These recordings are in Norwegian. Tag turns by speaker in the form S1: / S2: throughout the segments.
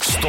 S1: Stå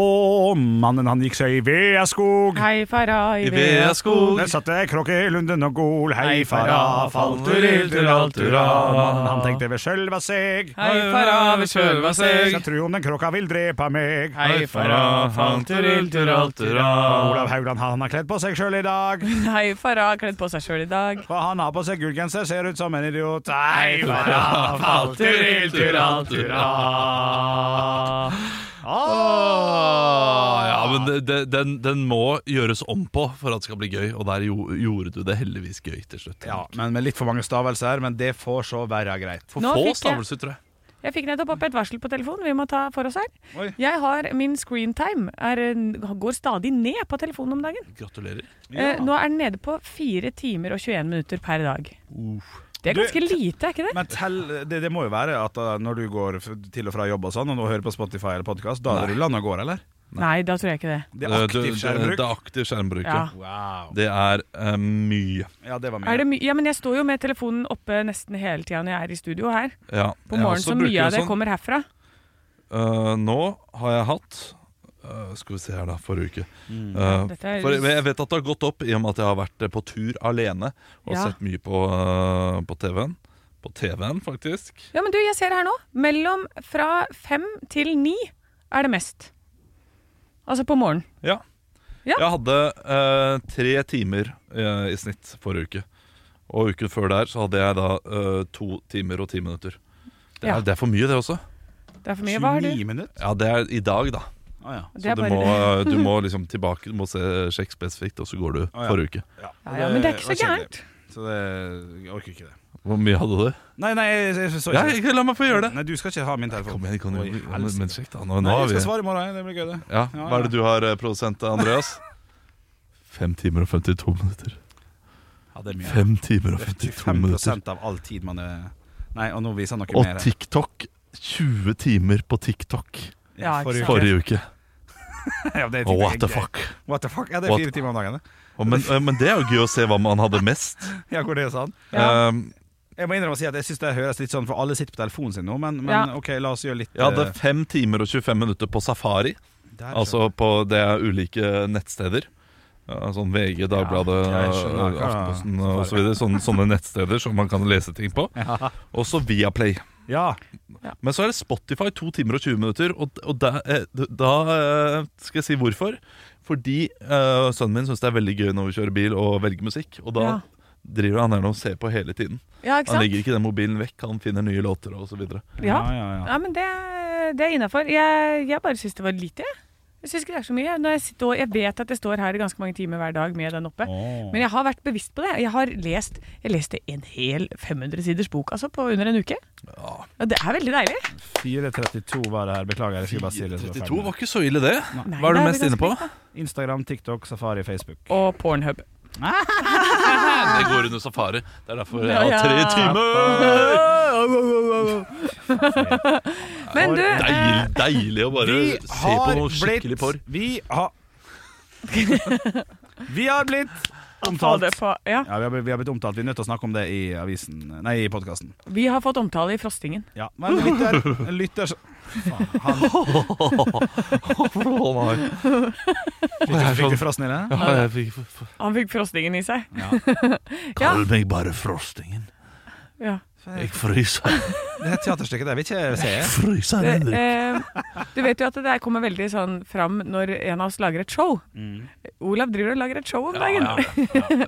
S2: Og mannen han gikk seg i Veaskog.
S3: Hei, fara, i
S4: Veaskog.
S2: Der satt det kråke i lunden og gol, hei fara, falturillturaltura.
S4: falturillturaltura.
S2: Mannen han tenkte ved sjølva seg.
S3: Hei, fara, vi sjølva seg.
S2: Så tru om den kråka vil drepa meg.
S3: Hei, fara,
S2: Olav Haugland han har kledd på seg sjøl i dag.
S3: Hei, fara, kledd på seg sjøl i dag.
S2: Hva han har på seg gullgenser, ser ut som en idiot. Hei fara,
S4: Ja, men det- det- den, den må gjøres om på for at det skal bli gøy, og der jo, gjorde du det heldigvis gøy til slutt.
S2: Ja, men med litt for mange stavelser, men det får så være greit.
S4: For
S3: Nå fikk
S4: få
S3: jeg-
S4: stavelser, tror jeg.
S3: Jeg fikk nettopp opp et varsel på telefonen vi må ta for oss her.
S2: Oi.
S3: Jeg har, Min screentime eh, går stadig ned på telefonen om dagen.
S4: Gratulerer.
S3: Eh, nå er den nede på 4 timer og 21 minutter per dag. Det er
S2: Du-
S3: ganske lite, er ikke det?
S2: Men tell, det, det må jo være at da, når du går f- til og fra jobb og sånn, og du hører på Spotify eller podkast, da ruller den og går, eller?
S3: Nei. da tror jeg ikke det.
S2: Det er
S4: Eh, Det-
S2: aktiv
S4: det-
S2: skjermbruk.
S4: Det er aktiv skjermbruk, ja.
S3: Ja.
S2: Wow.
S4: Det er eh, mye.
S2: Ja, det var mye.
S3: Er det my ja, men jeg står jo med telefonen oppe nesten hele tida når jeg er i studio her.
S4: Ja.
S3: På
S4: Jeg
S3: morgenen
S4: også
S3: så
S4: bruker
S3: mye av det
S4: sånn.
S3: kommer herfra.
S4: Eh, nå har jeg hatt eh, Skal vi se her, da. Forrige uke.
S2: Mm.
S4: Eh,
S3: Dette er-
S4: for, men jeg vet at det har gått opp i og med at jeg har vært eh, på tur alene og
S3: Ja.
S4: sett mye på, eh, på TV-en. På TV-en, faktisk.
S3: Ja, men du, jeg ser her nå. Mellom fra fem til ni er det mest. Altså på morgenen.
S4: Ja.
S3: Ja.
S4: Jeg hadde eh, tre timer eh, i snitt forrige uke. Og uken før der så hadde jeg da eh, to timer og ti minutter. Det er,
S3: Ja.
S4: det er for mye, det også.
S3: Det er for mye. Hva har du?
S2: minutter?
S4: Ja, det er i dag, da.
S2: Å ja.
S3: Det
S4: Så
S3: er
S4: du
S3: bare
S4: må,
S3: det.
S4: du må liksom tilbake, du må se sjekk spesifikt, og så går du
S2: ja.
S4: forrige uke.
S3: Ja, ja, men det er ikke så
S2: var kjedelig.
S3: gærent.
S2: Så det jeg orker ikke det.
S4: Hvor mye hadde du?
S2: Nei, nei, jeg, jeg, jeg så
S4: Ja,
S2: ikke det.
S4: ikke, la meg få gjøre det!
S2: Nei, du skal ikke ha min telefon.
S4: Kom igjen, kan du,
S2: Oi,
S4: ja, men,
S2: helsike.
S4: men sjekk da. Nå,
S2: Nei,
S4: nå har
S2: jeg
S4: vi
S2: skal svare i morgen. Det blir gøy, det.
S4: ja,
S2: Ja,
S4: Hva er det du har, eh, produsent Andreas? Fem timer og 52 minutter.
S2: Ja, det er mye.
S4: Fem timer og 52 minutter.
S2: 5 av all tid man er Nei, og nå viser han noe
S4: Og
S2: mer. her.
S4: TikTok. 20 timer på TikTok
S3: Ja, ikke sant.
S4: forrige uke.
S2: Ja, det er
S4: Og
S2: typisk
S4: what the
S2: gøy.
S4: fuck?
S2: What the fuck? Ja, det er fire
S4: What-
S2: timer om dagen. det.
S4: Å, men, eh, men det er jo gøy å se hva man hadde mest. Ehm,
S2: Ja, hvor det er sånn.
S4: Ja,
S2: Jeg må innrømme å si at jeg syns det høres litt sånn For alle sitter på telefonen sin nå, men, men
S3: Ja.
S2: OK, la oss gjøre litt
S4: jeg hadde
S2: eh,
S4: fem timer og 25 minutter på safari.
S2: der,
S4: Altså på det er ulike nettsteder. Ja, sånn VG, Dagbladet,
S2: jeg skjønner hva-
S4: Aftenposten osv. Så sånne, sånne nettsteder som man kan lese ting på. Og så Viaplay.
S2: skjønner. Ja.
S4: Men så er det Spotify, to timer og 20 minutter. Og, og da, eh, da eh, skal jeg si hvorfor. Fordi eh, sønnen min syns det er veldig gøy når vi kjører bil og velger musikk. Og da
S3: Ja.
S4: driver han her og ser på hele tiden.
S3: Ja, ikke
S4: Han
S3: sant?
S4: legger ikke den mobilen vekk, han finner nye låter og så videre.
S3: Ja,
S2: ja, ja, ja.
S3: ja men det, det er innafor. Jeg, jeg bare syns det var lite, jeg. Jeg syns ikke det er så mye. Når jeg, sitter, og- jeg vet at jeg står her i ganske mange timer hver dag med den oppe.
S2: Åh.
S3: Men jeg har vært bevisst på det. Jeg har lest Jeg leste en hel 500 siders bok altså, på under en uke. Ja, det er veldig deilig.
S2: 4.32 var det her. Beklager. jeg skulle bare si det. så var
S4: 32
S2: ferdig.
S4: var ikke så ille, det.
S3: Nei,
S4: Hva er
S3: det
S4: du
S3: er
S4: mest
S3: vi
S4: inne på?
S3: ganske
S2: Instagram, TikTok, Safari, Facebook.
S3: Og Pornhub.
S4: Det går under safari. Det er derfor jeg
S3: Ja, ja.
S4: har tre timer.
S3: Men du,
S4: Deilig, deilig å bare
S2: Vi
S4: se på
S2: har
S4: noe skikkelig
S2: blitt-
S4: porr.
S2: Vi har Vi har blitt
S3: ta
S2: omtalt.
S3: det på Ja.
S2: Ja, vi har, blitt- vi har blitt omtalt. Vi er nødt til å snakke om det i avisen Nei, i podkasten.
S3: Vi har fått omtale i Frostingen.
S2: Ja. Men lytter, en lytter så- Faen, han
S4: Å nei.
S2: Fikk du- fikk du
S4: sånn-
S2: frossen i det?
S4: Ja, jeg fikk
S3: Han fikk Frostingen i seg.
S4: Kall meg bare Frostingen.
S3: Ja.
S4: Jeg fryser.
S2: Det her teaterstykket der vil ikke jeg se.
S4: Fryser
S3: Det,
S4: inne.
S3: eh, du vet jo at det der kommer veldig sånn fram når en av oss lager et show. Olav driver og lager et show om dagen.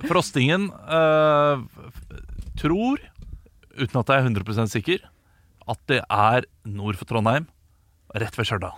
S4: Frostingen eh, tror, uten at jeg er 100 sikker, at det er nord for Trondheim, rett ved Stjørdal.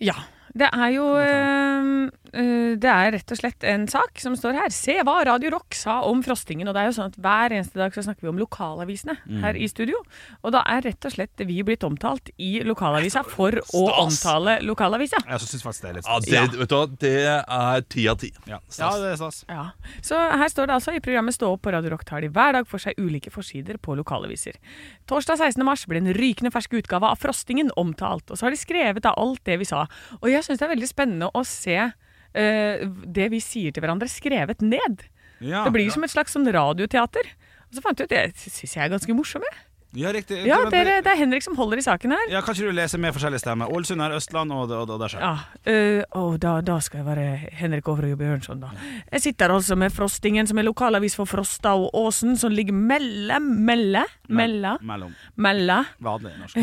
S3: Ja. Det er jo eh, eh, Det er rett og slett en sak som står her. Se hva Radio Rock sa om frostingen. Og det er jo sånn at hver eneste dag så snakker vi om lokalavisene her i studio. Og da er rett og slett vi blitt omtalt i lokalavisa for å
S4: Stas.
S3: omtale lokalavisa.
S2: Jeg syns faktisk det er litt
S4: Ja, det, Vet du hva, det er ti av ti.
S2: Ja, ja det er stas.
S3: Ja, Så her står det altså i programmet Stå opp på Radio Rock tar de hver dag for seg ulike forsider på lokalaviser. Torsdag 16. mars ble en rykende fersk utgave av Frostingen omtalt, og så har de skrevet av alt det vi sa. Og jeg syns det er veldig spennende å se eh, det vi sier til hverandre skrevet ned.
S2: Ja.
S3: Det blir som et slags sånn radioteater. Og så fant jeg ut det syns jeg er ganske morsomt. jeg.
S2: Ja, riktig.
S3: Ja,
S2: Men-
S3: dere, det er Henrik som holder i saken her.
S2: ja, Kan ikke du lese med forskjellige stemmer? Ålesund er Østland og, og, og der sjøl.
S3: Ja, øh, og da, da skal jeg være Henrik Overøy Bjørnson, da. Jeg sitter altså med Frostingen, som er lokalavis for Frosta og Åsen, som ligger mellom Melle? Mella?
S2: Mellom.
S3: Mella?
S2: Vanlig norsk.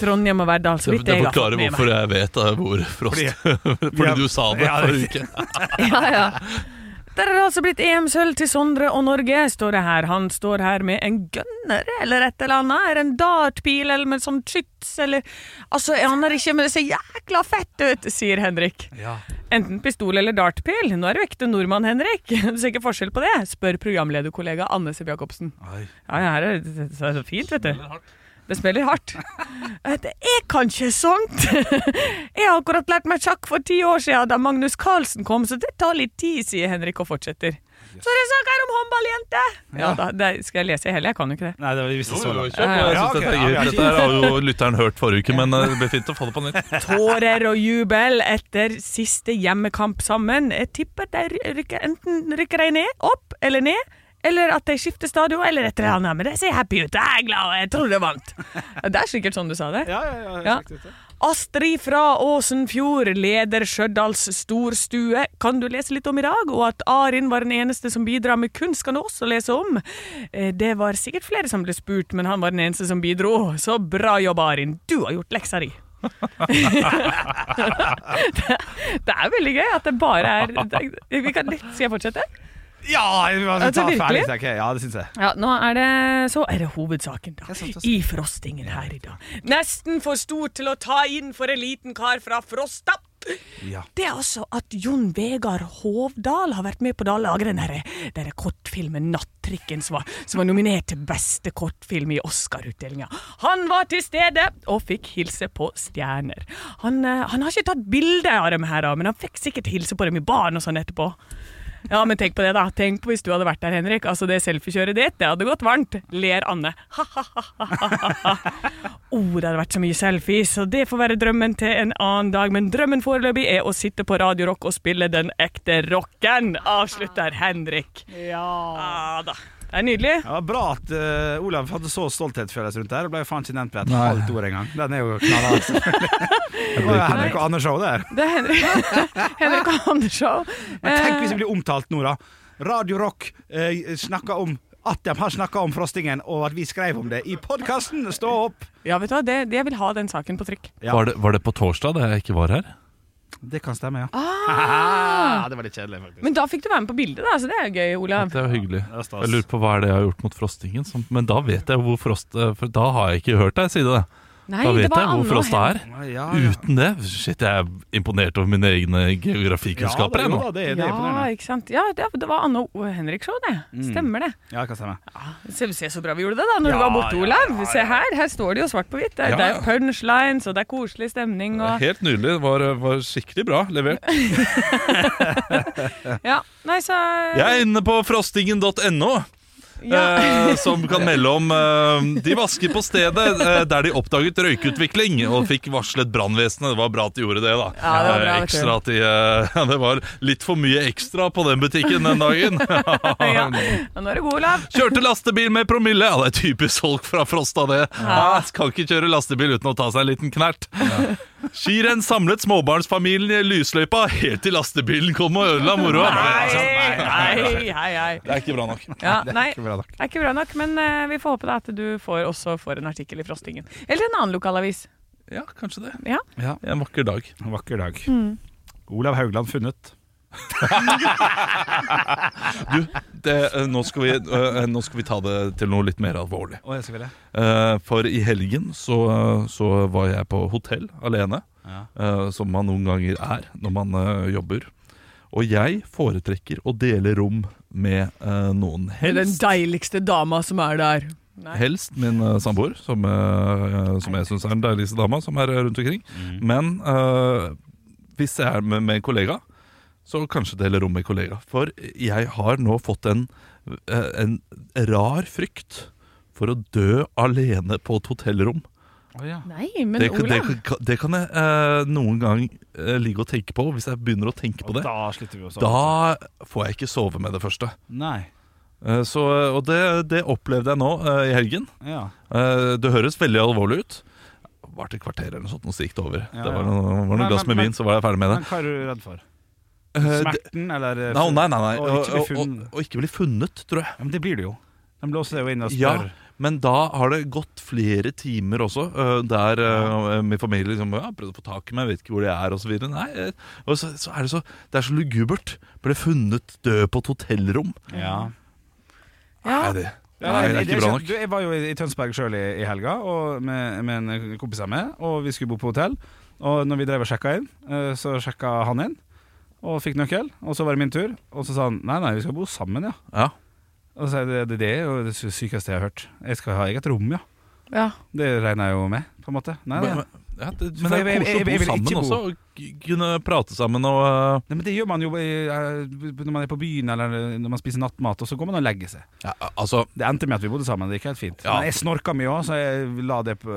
S3: Trondheim og Verdal, så
S4: Det,
S3: vidt
S4: det
S3: jeg har fått
S4: forklarer
S3: med meg.
S4: hvorfor jeg vet eh, hvor Frost Fordi,
S2: Ja.
S4: du sa det
S2: Ja,
S4: forrige uke.
S3: ja, ja. Der er det altså blitt EM-sølv til Sondre og Norge, står det her. Han står her med en gønner eller et eller annet. Er det en dartpil eller med sånn skyts eller Altså, jeg aner ikke, men det ser jækla fett ut, sier Henrik. Enten pistol eller dartpil. Nå er du ekte nordmann, Henrik. Du ser ikke forskjell på det? Spør programlederkollega Anne Seb Jacobsen. Ja, ja, her er det, det er så fint, vet du. Det spiller hardt. Eh, Det er kanskje sånt. Jeg har akkurat lært meg sjakk for ti år siden da Magnus Carlsen kom, så det tar litt tid, sier Henrik og fortsetter. Så det er sak her om håndballjente! Ja da, det skal jeg lese hele? Jeg kan jo ikke det.
S2: Nei, det var visst så langt.
S4: Jeg
S2: Ja,
S4: synes
S2: ok,
S4: dette er
S2: ja, ja.
S4: gøy. Dette her har jo lytteren hørt forrige uke, men eh, det blir fint å få det på nytt.
S3: Tårer og jubel etter siste hjemmekamp sammen. Jeg tipper de rykker, enten rykker de ned, opp eller ned, eller at de skifter stadion eller et eller annet. Men de ser happy ut. Jeg er glad, og jeg tror de vant. Det er sikkert sånn du sa det.
S2: Ja, ja, ja,
S3: Ja.
S2: helt riktig.
S3: Astrid fra Åsenfjord, leder Stjørdals storstue, kan du lese litt om i dag? Og at Arin var den eneste som bidrar med kunst, kan du også lese om. Eh, Det var sikkert flere som ble spurt, men han var den eneste som bidro. Så bra jobba, Arin. Du har gjort leksa di. det, det er veldig gøy at det bare er det, vi kan, Skal jeg fortsette?
S2: Ja, vi må
S3: Altså,
S2: ta
S3: virkelig?
S2: ferdig, tenker jeg. Ja, det syns jeg.
S3: Ja, nå er det Så er det hovedsaken, da.
S2: er sant, det er sant.
S3: I frostingen her i dag. Nesten for stor til å ta inn for en liten kar fra Frosta.
S2: Ja.
S3: Det er altså at Jon Vegard Hovdal har vært med på da å lage den derre der kortfilmen 'Nattrikken', som var, som var nominert til beste kortfilm i Oscar-utdelinga. Han var til stede og fikk hilse på stjerner. Han, eh, han har ikke tatt bilde av dem her, da, men han fikk sikkert hilse på dem i baren og sånn etterpå. Ja, men tenk på det, da. Tenk på hvis du hadde vært der, Henrik. Altså, det selfiekjøret ditt, det hadde gått varmt. Ler Anne. Ha-ha-ha-ha-ha. oh, det hadde vært så mye selfies, så det får være drømmen til en annen dag. Men drømmen foreløpig er å sitte på Radio Rock og spille den ekte rocken, avslutter Henrik. Ja ah, da. Det er nydelig.
S2: Ja, bra at eh, Olav hadde så stolthetsfølelse rundt der. Og ble faen ikke nevnt med et halvt ord engang. Den er jo knallhard. selvfølgelig. Det var jo Henrik og Anders show der.
S3: Det er Henrik, Henrik og Anders-show.
S2: Men tenk hvis det blir omtalt nå, da. Radio Rock eh, snakker om at de har snakka om frostingen, og at vi skrev om det i podkasten. Stå opp!
S3: Ja, vet du hva, det, det- jeg vil ha den saken på trykk.
S2: Ja.
S4: Var det, var det på torsdag da jeg ikke var her?
S2: Det kan stemme, ja. Ah. det var litt kjedelig, faktisk.
S3: Men da fikk du være med på bildet, da, så det er jo gøy, Olav.
S4: Det er jo hyggelig.
S2: det er stas.
S4: Jeg lurer på hva er det jeg har gjort mot frostingen. som- Men da vet jeg hvor frost eh, For da har jeg ikke hørt deg si det.
S3: Nei,
S4: Da vet
S3: det var
S4: jeg hvor
S3: Anne og
S4: frosta
S3: Henrik.
S4: er.
S2: Ja, ja.
S4: Uten det Shit, jeg er imponert over mine egne
S2: Ja,
S4: geografikunnskaper.
S2: det,
S4: jeg,
S2: jo
S4: nå.
S2: da, det, er- det er
S3: Ja,
S2: imponerende.
S3: ikke sant. Ja, det, det var Anne og Henrik show, det. Stemmer det.
S2: Ja, det kan stemme.
S3: Se, se så bra vi gjorde det da når du
S2: Ja,
S3: var borte,
S2: ja,
S3: Olav.
S2: ja,
S3: Se her, her står det jo svart på hvitt. Det, er-
S4: Ja,
S3: det
S4: ja.
S3: er punchlines, og det er koselig stemning. Og,
S4: Helt nydelig. Det var, eh, var skikkelig bra levert.
S3: ja. Nei, så
S4: Jeg er inne på frostingen.no.
S3: ja.
S4: eh, som kan melde om eh, De vasker på stedet eh, der de oppdaget røykutvikling og fikk varslet brannvesenet. Det var bra at de gjorde det, da.
S3: Ja, det var bra,
S4: Eh,
S3: vet du.
S4: ekstra at de, eh, det var litt for mye ekstra på den butikken
S3: ja.
S4: den dagen.
S3: Nå er du god, Olav.
S4: Kjørte lastebil med promille. Ja, det er typisk folk fra Frosta, det. Ja. Kan ikke kjøre lastebil uten å ta seg en liten knert. Skirenn samlet småbarnsfamilien i lysløypa helt til lastebilen kom og ødela moroa. Det altså-
S3: Hei, hei, hei. hei.
S4: er ikke bra nok.
S3: Ja, nei,
S2: Ikke bra nok.
S3: det er ikke bra nok, men eh, vi får håpe da at du får, også får en artikkel i Frostingen. Eller en annen lokalavis.
S4: Ja, kanskje det.
S3: Ja.
S4: En vakker dag.
S2: En vakker dag. Olav Haugland funnet.
S4: Du, det, eh, nå, skal vi, eh, nå skal vi ta det til noe litt mer alvorlig.
S2: Å, jeg skal det.
S4: Eh, For i helgen så, så var jeg på hotell alene,
S2: Ja.
S4: eh, som man noen ganger er når man eh, jobber. Og jeg foretrekker å dele rom med eh, noen. Helst,
S3: deiligste dama som er der. Nei.
S4: helst min eh, samboer, som, eh, som jeg syns er den deiligste dama som er eh, rundt omkring.
S2: Mm.
S4: Men eh, hvis jeg er med, med en kollega, så kanskje dele rom med en kollega. For jeg har nå fått en, eh, en rar frykt for å dø alene på et hotellrom.
S3: Nei, men
S4: Det, det,
S3: Olav.
S4: det kan jeg eh, noen gang eh, ligge og tenke på, hvis jeg begynner å tenke på
S2: Og
S4: det.
S2: da slutter vi å sove.
S4: Da får jeg ikke sove med det første.
S2: Nei.
S4: Eh, Så, og det, det opplevde jeg nå eh, i helgen.
S2: Ja.
S4: Eh, Det høres veldig alvorlig ut. Var til kvarter eller noe sånt, og så gikk det over.
S2: Ja,
S4: Det
S2: ja.
S4: var noe, var
S2: Men-
S4: noe glass
S2: men-
S4: med vin, så var jeg ferdig med det.
S2: Men hva er du redd for?
S4: Eh, det-
S2: Smerten, eller eh,
S4: Nei, nei, nei, nei.
S2: Og
S4: Og,
S2: ikke bli
S4: og, og,
S2: funnet.
S4: og ikke bli funnet, tror jeg.
S2: Ja, men det blir det jo. De låser deg jo inn og
S4: Ja,
S2: spør.
S4: men da har det gått flere timer også, øh, der øh, min familie liksom ja, prøvde å få tak i meg, vet ikke hvor de er, osv. Nei, eh, og så, så er det så Det er så lugubert. Ble funnet død på et hotellrom.
S2: Ja.
S4: Nei,
S3: Ja.
S4: det,
S2: Ja,
S4: nei, det er ikke bra nok.
S2: Du, jeg var jo i i Tønsberg sjøl i, i helga og med, med en kompis av meg, og vi skulle bo på hotell. Og når vi drev og sjekka inn, eh, så sjekka han inn og fikk nøkkel. Og så var det min tur, og så sa han nei, nei, vi skal bo sammen, ja.
S4: Ja.
S2: Og så sa jeg det, det, det er jo det sykeste jeg har hørt. Jeg skal ha eget rom, ja.
S3: ja.
S2: Det regner jeg jo med, på en måte. Nei, nei. nei,
S4: Men, men- ja, det,
S2: For
S4: men det er
S2: jeg- jeg-
S4: koselig
S2: jeg-
S4: å
S2: jeg
S4: bo
S2: vil ikke
S4: sammen
S2: bo.
S4: også, og k- kunne prate sammen og øh,
S2: men det gjør man jo i, eh, når man er på byen eller når man spiser nattmat, og så går man og legger seg.
S4: ja, Altså,
S2: Det endte med at vi bodde sammen, det gikk helt fint.
S4: Ja.
S2: Men jeg snorka mye òg, så jeg, la det på,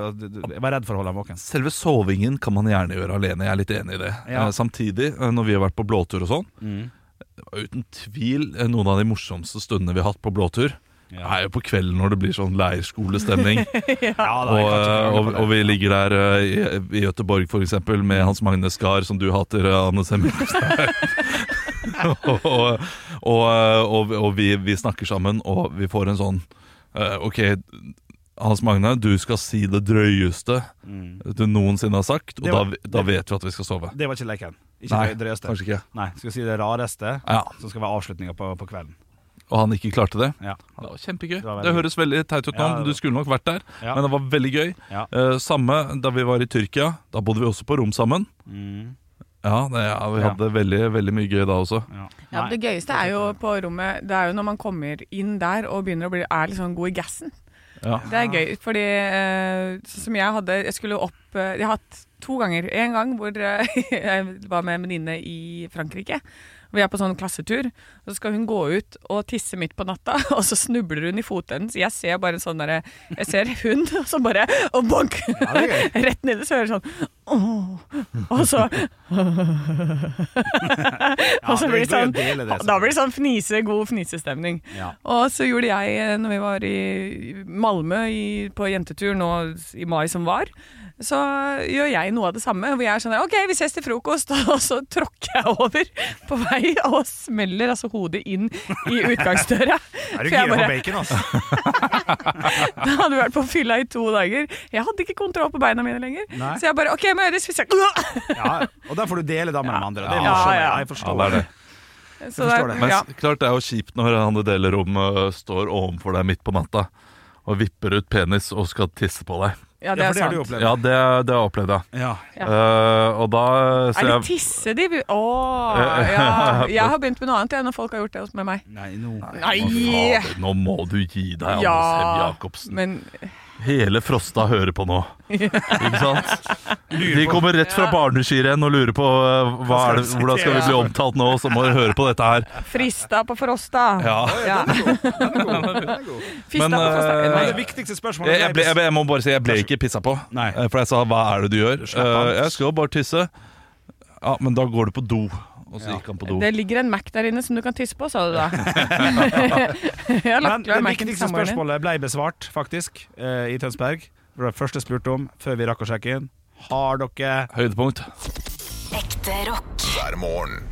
S2: jeg var redd for å holde ham våken.
S4: Selve sovingen kan man gjerne gjøre alene, jeg er litt enig i det.
S2: Ja.
S4: Eh, Samtidig, eh, når vi har vært på blåtur og sånn, det var uten tvil eh, noen av de morsomste stundene vi har hatt på blåtur.
S2: Ja.
S4: Er jo på kvelden når det blir sånn leirskolestemning,
S2: Ja, da, jeg
S4: og,
S2: kan ikke klage på
S4: eh, og,
S2: det.
S4: og vi ligger der eh, i, i Gøteborg for eksempel med Hans Magne Skar, som du hater, eh, Anne Semmelstein. og, og, og, eh, og, og vi, vi snakker sammen, og vi får en sånn eh, Ok, Hans Magne, du skal si det drøyeste du noensinne har sagt, og
S2: Det var-
S4: da, da vet vi at vi skal sove.
S2: Mm. Det var ikke leken. Ikke
S4: Nei,
S2: det drøyeste.
S4: kanskje ikke.
S2: Nei, skal si det rareste,
S4: Ja,
S2: som skal være avslutninga på, på kvelden.
S4: Og han ikke klarte det.
S2: Ja.
S4: Det var kjempegøy.
S2: Det var veldig
S4: Det høres veldig teit ut nå,
S2: Ja, det-
S4: du skulle nok vært der,
S2: Ja.
S4: men det var veldig gøy.
S2: Ja.
S4: Eh, samme da vi var i Tyrkia. Da bodde vi også på rom sammen.
S2: Mm,
S4: Ja, det, ja vi hadde veldig, veldig mye gøy da også.
S2: Ja.
S3: Ja, men
S2: Nei.
S3: det gøyeste er jo på rommet Det er jo når man kommer inn der og begynner å bli er liksom god i gassen.
S4: Ja.
S3: Det er gøy, fordi eh, sånn som jeg hadde Jeg skulle opp eh, Jeg har hatt to ganger. En gang hvor eh, jeg var med en venninne i Frankrike. Vi er på sånn klassetur, og så skal hun gå ut og tisse midt på natta, og så snubler hun i fotenden, så jeg ser bare en sånn derre Jeg ser hun, og så bare Og bonk!
S2: det er
S3: Rett nedi, så hører jeg sånn «Åh», Og så Og
S2: det
S3: så
S2: er
S3: blir det
S2: gøy å
S3: sånn
S2: dele det,
S3: Da blir det sånn fnise, god fnisestemning.
S2: Ja.
S3: Og så gjorde jeg, eh, når vi var i Malmö i, på jentetur nå s- i mai som var, så gjør jeg noe av det samme. Hvor jeg er sånn der, OK, vi ses til frokost. Og så tråkker jeg over på vei og smeller altså hodet inn i utgangsdøra.
S2: Er du
S3: For jeg
S2: gira på
S3: bare-
S2: bacon, altså?
S3: da hadde vi vært på fylla i to dager. Jeg hadde ikke kontroll på beina mine lenger.
S2: Nei.
S3: Så jeg bare OK, Møres, vi ses. Så
S2: Ja. Og da får du dele da med de andre. Det er
S3: Ja,
S2: morsomt.
S3: ja.
S2: Jeg
S4: Ja,
S2: forstår
S4: det er det.
S2: forstår
S3: det-
S2: det.
S4: Men
S3: ja.
S4: s- klart det er jo kjipt når han det deler rom øh, står ovenfor deg midt på natta og vipper ut penis og skal tisse på deg.
S3: ja, det
S2: Ja, for
S3: er
S2: det har du
S3: sant.
S2: opplevd.
S4: Ja, det, det har jeg opplevd, ja.
S2: Ja.
S3: Ja.
S4: Eh, og da øh,
S3: Er
S4: så
S3: det
S4: jeg
S3: tisse de vil- Åh, ja. Jeg har begynt med noe annet jeg, når folk har gjort det hos- med meg.
S2: Nei, nå
S4: Å,
S3: Nei!
S4: fader, Nå må du gi deg, Anne Sem
S3: Ja,
S4: Jacobsen.
S3: men
S4: Hele Frosta hører på nå. Ikke sant? De kommer rett fra barneskirenn og lurer på eh, hva er det, hvordan skal vi bli omtalt nå, så må de høre på dette her.
S3: frista på frosta.
S4: Ja.
S3: Ja. Fista
S4: Men,
S3: på frosta.
S4: eh,
S2: Men
S3: Nei.
S2: det viktigste spørsmålet
S4: Jeg, jeg, ble, jeg, ble- jeg må bare si jeg ble ikke pissa på.
S2: Nei.
S4: Eh, For jeg sa 'hva er det du gjør?'
S2: an.
S4: Eh, 'Jeg skal jo bare tisse'. Ja, men da går du på do. Og så
S2: Ja.
S4: gikk han på do.
S3: Det ligger en Mac der inne som du kan tisse på, sa du da. jeg har
S2: Men
S3: lagt
S2: det
S3: meg Mac-en til
S2: viktigste
S3: samboeren din.
S2: spørsmålet ble besvart, faktisk, eh, i Tønsberg. Det var det første jeg spurte om før vi rakk å sjekke inn. Har dere
S4: Høydepunkt.
S5: Ekte rock.
S1: hver morgen.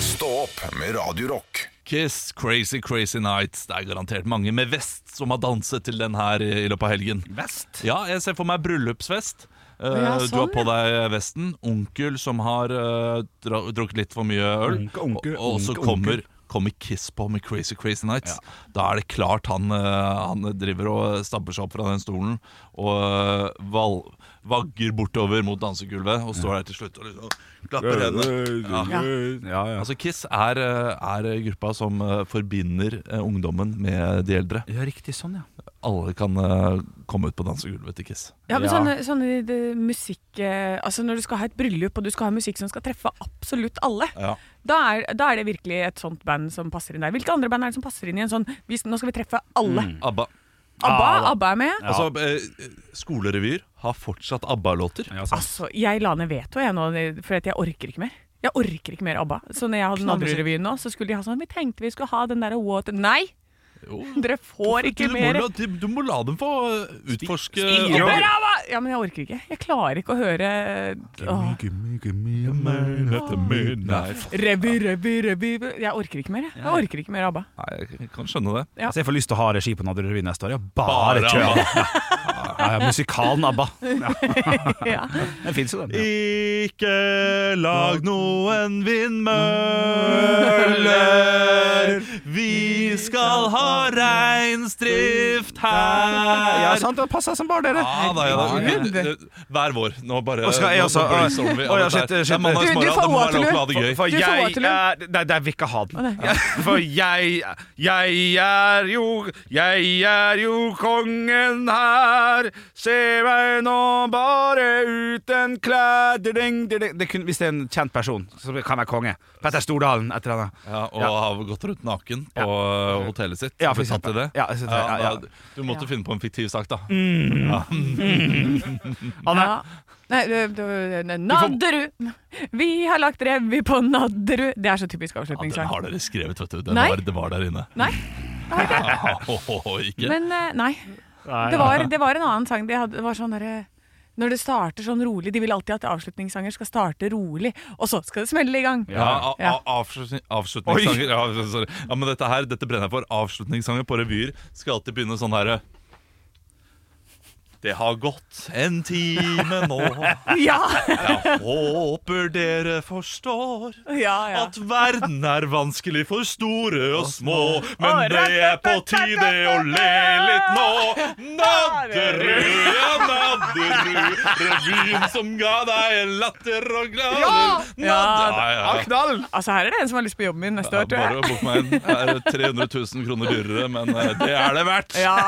S1: Stå opp med Radio Rock.
S4: Kiss, Crazy Crazy Nights. Det er garantert mange med vest som har danset til den her i i løpet av helgen.
S2: Vest?
S4: Ja, jeg ser for meg bryllupsfest. Eh,
S3: Ja,
S4: du har
S3: sånn,
S4: på deg vesten. Onkel som har eh, dra drukket litt for mye øl.
S2: Onkel, onkel,
S4: og, og så
S2: onkel,
S4: kommer, kommer Kiss på med Crazy Crazy Nights. Da er det klart han, eh, han driver og stabber seg opp fra den stolen og eh, val vagger bortover mot dansegulvet og står der til slutt og liksom klapper hendene. Ja.
S2: Ja, ja.
S4: Altså Kiss er, eh, er gruppa som eh, forbinder eh, ungdommen med de eldre.
S2: ja, riktig sånn, ja.
S4: Alle kan eh, komme ut på dansegulvet til Kiss.
S3: Ja, men
S2: Ja.
S3: sånne, sånne det- musikk eh, Altså Når du skal ha et bryllup og du skal ha musikk som skal treffe absolutt alle,
S4: Ja.
S3: da, er, da er det virkelig et sånt band som passer inn der. Hvilke andre band er det som passer inn i en sånn vi, Nå skal vi treffe alle.
S4: ABBA.
S3: ABBA,
S2: Ah, da.
S3: ABBA er med.
S4: Altså, eh, skolerevyer har fortsatt ABBA-låter.
S2: ja sant.
S3: Altså, jeg la ned veto, jeg nå, for at jeg orker ikke mer. Jeg orker ikke mer ABBA. Så når jeg hadde Nadderud-revyen nå, så skulle de ha sånn Vi tenkte vi skulle ha den derre water Nei!
S4: Jo.
S3: Dere får ikke
S4: Du må,
S3: mer.
S4: la, du, du må la dem få øh, utforske
S2: Spire
S3: Mer
S2: over.
S3: ABBA! Ja, men jeg orker ikke. Jeg klarer ikke å høre åh. Revy, revy, revy Jeg orker ikke mer. jeg. Jeg orker ikke mer ABBA.
S4: Nei, jeg kan skjønne det.
S3: Ja.
S2: Altså, jeg får lyst til å ha regi på Nadderud Revy neste år. Ja,
S4: Bare
S2: bare kjør! Ja. Ja, ja, musikalen ABBA. Ja,
S3: Ja.
S2: den fins jo, den. Ja.
S4: Ikke lag noen vindmøller. Vi skal ha reinsdrift her.
S2: Ja, sant, det passer som bare dere.
S4: Ja, da, ja, da. Ok, Hver vår. Nå bare
S2: Og skal jeg
S4: nå
S2: også-
S4: brainstormer vi
S2: Å, ja,
S4: alt
S2: shit,
S4: det her. Det
S2: shit.
S4: er mandags
S3: Du- du
S4: morgen,
S3: får
S4: det må være lov til å ha det gøy.
S2: For
S3: Du får
S2: jeg
S3: Waterloo.
S2: er Nei, jeg vil ikke ha den.
S3: nei.
S2: Jeg- For jeg Jeg er jo Jeg er jo kongen her. Se meg nå bare uten klær ding, ding, ding. Det kunne, Hvis det er en kjent person, så kan jeg være konge. Petter Stordalen, et eller annet.
S4: Ja, og
S2: Ja.
S4: har gått rundt naken på eh, hotellet sitt.
S2: Ja, for
S4: Blitt tatt i
S2: eksempel.
S4: det.
S2: Ja, jeg synes det, ja, ja. Mm.
S4: da- Du måtte
S3: Ja.
S4: finne på en fiktiv sak, da. Mm.
S2: Anne,
S3: Ja. Nei, du- du- du- Nadderud! Vi har lagt revy på Nadderud. Det er så typisk
S4: Ja, den
S3: avslutningssang.
S4: har dere skrevet, vet du. Den
S3: Nei.
S4: var, det var der inne.
S3: Nei,
S4: Ah, ho, ho, ho, ikke.
S3: men eh, nei. Det var, det var en annen sang de hadde. Det var sånn derre når det starter sånn rolig De vil alltid at avslutningssanger skal starte rolig, og så skal det smelle i gang.
S4: ja, a-
S3: Ja.
S4: a- avslutning, avslutningssanger ja, sorry. ja, men dette her, dette brenner jeg for. Avslutningssanger på revyer skal alltid begynne sånn herre Det har gått en time nå.
S3: Ja!
S4: Jeg håper dere forstår.
S3: ja, ja.
S4: At verden er vanskelig for store og små, men det er på tide å le litt nå. Nadderud, ja, Nadderud, revyen som ga deg en latter og glad
S3: Ja! Ja,
S4: ja, ja.
S2: knall!
S3: Altså, her er det en som har lyst på jobben min neste
S4: Ja,
S3: år, tror
S4: bare
S3: jeg.
S4: bok meg en. Det er 300 000 kroner dyrere, men eh, det er det verdt.
S3: Ja.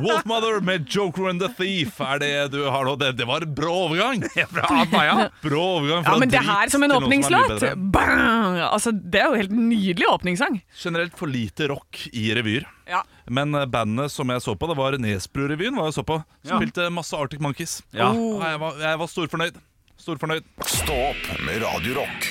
S4: Wolfmother med Joker and the Thief er det du har nå. Det, det var en brå overgang.
S2: Fra ABBA, ja.
S4: Brå overgang fra
S3: Ja, men det
S4: drit
S3: her som en
S4: til noe er mye
S3: åpningslåt!
S4: bedre.
S3: Bang! Altså, det er jo helt nydelig åpningssang.
S4: Generelt for lite rock i revyer.
S3: Ja.
S4: Men eh, bandene som jeg så på, det var Nesbru-revyen var jeg så på. Spilte masse Arctic Monkeys.
S2: Ja.
S3: Oh.
S4: Og Jeg, var, jeg var storfornøyd. Storfornøyd.
S1: Stå opp med Radio Rock.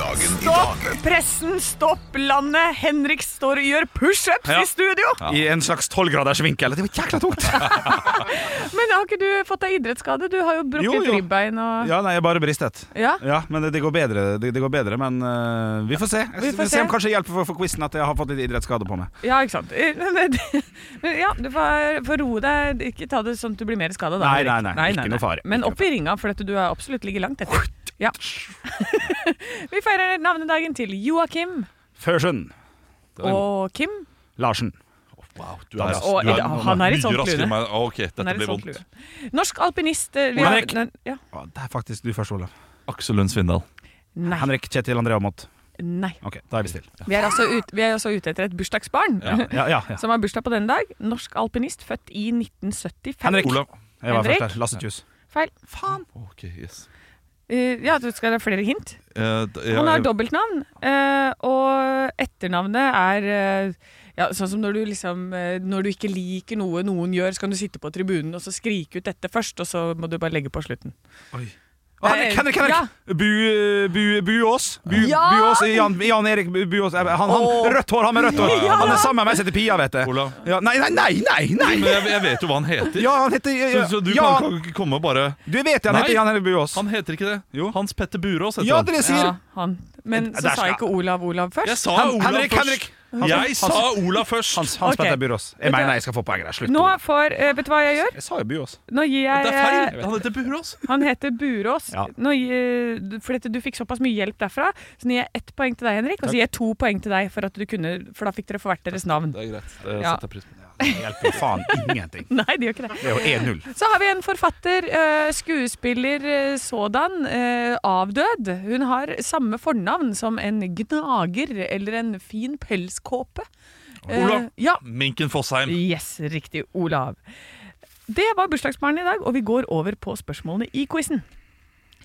S1: Dagen i
S3: Stopp
S1: dag
S3: pressen, stopp landet! Henrik står og gjør pushups
S2: Ja.
S3: i studio!
S2: I en slags tolvgraders vinkel. Det var jækla tungt!
S3: Men har ikke du fått deg idrettsskade? Du har jo
S2: Jo,
S3: brukket
S2: jo.
S3: ribbein og
S2: Ja, nei, jeg bare bristet.
S3: Ja.
S2: Ja, men det, det går bedre, det, det går bedre men eh, vi får se. Jeg,
S3: Vi får
S2: vi
S3: se.
S2: se om kanskje det hjelper for, for quizen at jeg har fått litt idrettsskade på meg.
S3: Ja, ikke sant. Eh, Men, men ja, du får, får roe deg. Ikke ta det sånn at du blir mer skada.
S2: Nei, nei, nei. Ikke noe fare.
S3: Men opp i ringa, for at du har absolutt ligget langt etter. Ja. Vi feirer navnedagen til Joakim
S2: Førsund
S3: og Kim.
S2: Larsen.
S4: Wow, du
S2: Da-
S4: er,
S3: og-
S4: altså, du er,
S3: han er i sånn
S4: mye raskere
S3: klune.
S4: enn meg. Ah, Ok, dette
S3: Han er
S4: blir
S3: litt sånn
S4: vondt.
S3: klue. Norsk alpinist eh, vi har-
S2: Henrik.
S3: Nei, Ja.
S2: Å, det er faktisk du først, Olav.
S4: Aksel Lund Svindal.
S3: Nei.
S2: Henrik Kjetil André Aamodt.
S3: nei.
S2: Ok, da er vi stille.
S3: Vi er altså ut, vi er også ute etter et bursdagsbarn.
S2: Ja, ja, ja.
S3: Som har bursdag på denne dag. Norsk alpinist, født i 1975.
S2: Henrik.
S4: Olav.
S2: Jeg var
S3: Henrik?
S2: først der. Lasse Kjus.
S3: Feil. Faen.
S4: Ok, yes.
S3: Eh, ja, du skal ha flere hint.
S4: Eh, d- jeg-
S3: Han har dobbeltnavn, eh, og etternavnet er eh, ja, sånn som når du liksom eh, Når du ikke liker noe noen gjør, så kan du sitte på tribunen og så skrike ut dette først, og så må du bare legge på slutten. Eh,
S2: Å, Henrik, Henrik! Henrik.
S3: Ja.
S2: Bu, bu, Buås. Bu,
S3: Ja!
S2: Buås. Jan, Jan Erik Bu- Buås. Han, han rødt hår, han med rødt hår.
S3: Ja.
S2: Han er sammen med meg, som heter Pia, vet du.
S4: Olav.
S2: Ja, nei, nei, nei! nei,
S4: Men
S2: nei.
S4: jeg, jeg vet jo hva han heter.
S2: Ja, han heter
S4: Så,
S2: ja,
S4: så du
S2: ja,
S4: kan ikke komme og bare
S2: Du vet jo han
S4: Nei.
S2: heter Jan Erik Buås.
S4: Han heter ikke det.
S2: Jo.
S4: Hans Petter Burås heter
S2: Ja,
S4: han.
S2: dere sier
S3: Ja, han. Men så
S2: Der
S3: sa
S2: skal-
S3: ikke Olav Olav først.
S4: Jeg sa
S2: Hen-
S4: Olav
S2: Henrik,
S4: først.
S2: Henrik.
S4: Jeg sa Olav først.
S2: Hans, Hans
S3: Ok.
S2: Petter Burås. Jeg mener jeg skal få poeng der. Slutt.
S3: Nå
S2: Olav.
S3: får eh, Vet du hva jeg gjør?
S2: Jeg sa jo Buås.
S3: Nå gir jeg
S4: Det er feil.
S3: eh,
S4: Han heter Burås.
S3: Han heter Burås.
S2: Ja.
S3: Nå gir- du- for dette, du fikk såpass mye hjelp derfra. Så nå gir jeg ett poeng til deg, Henrik, og så gir jeg to poeng til deg, for, at du kunne, for da fikk dere for hvert deres navn.
S4: Det er greit. Det
S3: Ja.
S4: setter jeg pris på.
S2: Det hjelper faen ingenting.
S3: Nei, det gjør ikke det.
S2: Det er jo 1-0.
S3: Så har vi en forfatter, eh, skuespiller eh, sådan, eh, avdød. Hun har samme fornavn som en gnager eller en fin pelskåpe. Eh,
S4: Olav.
S3: ja.
S4: Minken Fossheim.
S3: Yes, riktig. Olav. Det var bursdagsbarnet i dag, og vi går over på spørsmålene i quizen.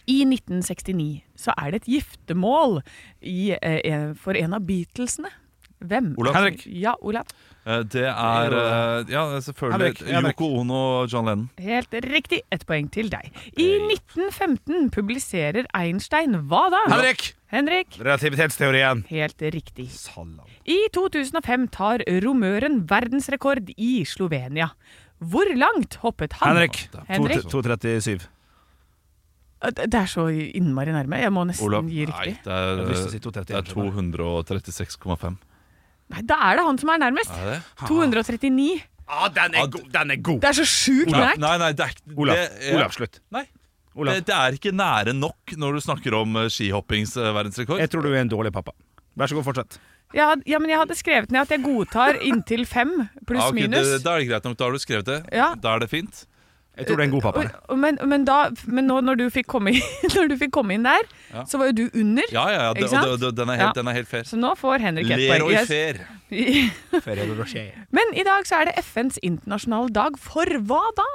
S3: I 1969 så er det et giftermål i, eh, en- for en av Beatlesene. Hvem?
S4: Olav.
S2: Henrik.
S3: Ja, Olav.
S4: Eh, Det er eh, Ja, selvfølgelig.
S2: Henrik, Henrik.
S4: Yoko Ono og John Lennon.
S3: Helt riktig. Et poeng til deg. I 1915 publiserer Einstein hva da?
S2: Henrik!
S3: Henrik.
S2: Relativitetsteorien.
S3: Helt riktig. I 2005 tar romøren verdensrekord i Slovenia. Hvor langt hoppet han?
S2: Henrik.
S3: Henrik.
S2: 237.
S3: Det er så innmari nærme. Jeg må nesten
S4: Olav.
S3: gi
S4: Nei,
S3: riktig.
S4: det er,
S2: Jeg hadde lyst til å si
S4: eh,
S2: 231,
S4: det er 236,5.
S3: Nei, da er det han som er nærmest.
S4: Er det?
S3: 239.
S2: Ja, den er, god, den er god!
S3: Det er så sjukt
S4: Nei,
S3: nært.
S4: nei, nei, det er ikke
S2: Olav,
S4: det er-
S2: Olav slutt.
S4: Nei.
S2: Olav.
S4: Det, det er ikke nære nok når du snakker om eh, skihoppings eh, verdensrekord.
S2: Jeg tror du er en dårlig pappa. Vær så god, fortsett.
S3: Jeg had- ja, men jeg hadde skrevet ned at jeg godtar inntil fem,
S4: Ja,
S3: pluss
S4: ok,
S3: minus.
S4: det, da er det greit nok. Da har du skrevet det.
S3: Ja.
S4: Da er det fint.
S2: Jeg tror du er en god pappa.
S3: Og- og- Men, men, da, men nå når du fikk komme inn, når du fikk komme inn der,
S4: Ja.
S3: så var jo du under.
S4: Ja, ja, ja.
S3: Ikke
S4: Det,
S3: sant?
S4: og det, det, den, er helt,
S3: Ja.
S4: den er helt fair.
S3: Så nå får Henrik et poeng.
S4: Leroy
S3: Yes.
S4: Fair.
S3: Men i dag så er det FNs internasjonale dag for hva da?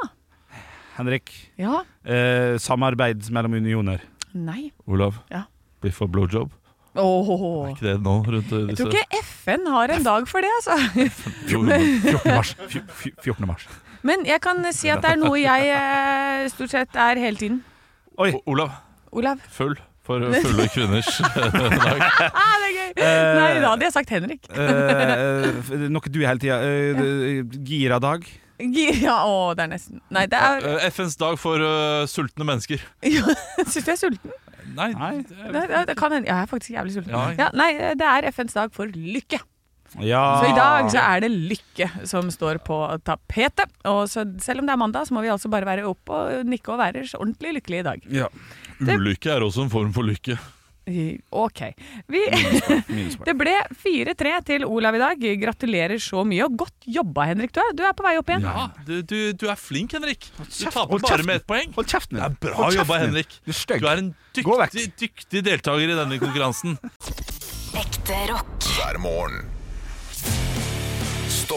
S2: Henrik.
S3: Ja,
S2: Eh, samarbeid mellom unioner.
S3: nei.
S4: Olav.
S3: Ja.
S4: Biff og blowjob.
S3: Åh,
S4: Ikke det nå rundt eh,
S3: jeg
S4: disse
S3: tror ikke FN har en dag for det, altså.
S4: Jo, men-
S2: 14. mars. Fj- fj- 14. mars.
S3: Men jeg kan si at det er noe jeg eh, stort sett er hele tiden.
S2: Oi.
S4: O- Olav.
S3: Olav.
S4: Full. For fulle kvinners dag.
S3: Ah, det er gøy! Nei, da hadde jeg sagt Henrik.
S2: Eh, f- noe du er hele tida. Eh, gira dag.
S3: Ja, å, det er nesten. Nei, det er
S4: Eh, FNs dag for eh, sultne mennesker. Eh.
S3: Syns du jeg er sulten?
S4: Nei.
S2: Nei.
S3: Det, det, det kan hende. Ja, jeg er faktisk jævlig sulten.
S4: Ja,
S3: Ja,
S4: ja.
S3: nei, eh, det er FNs dag for lykke.
S2: Ja.
S3: Så i dag så er det lykke som står på tapetet. Og så selv om det er mandag, så må vi altså bare være oppe og nikke og være så ordentlig lykkelige i dag.
S4: Ulykke er også en form for lykke.
S3: OK. Vi, det ble 4-3 til Olav i dag. Gratulerer så mye, og godt jobba, Henrik. Du er, du er på vei opp igjen.
S4: Ja, du, du, du er flink, Henrik. Du
S2: kjeft,
S4: taper
S2: hold
S4: bare
S2: kjeften.
S4: med ett poeng.
S2: Hold kjeften din.
S4: Det er bra
S2: Hold kjeften
S4: jobba,
S2: din.
S4: Henrik.
S2: Du er stygg.
S4: Du er en
S2: Gå vekk.
S4: dyktig, dyktig deltaker i denne konkurransen.
S5: Ekte rock.
S1: hver morgen. Stå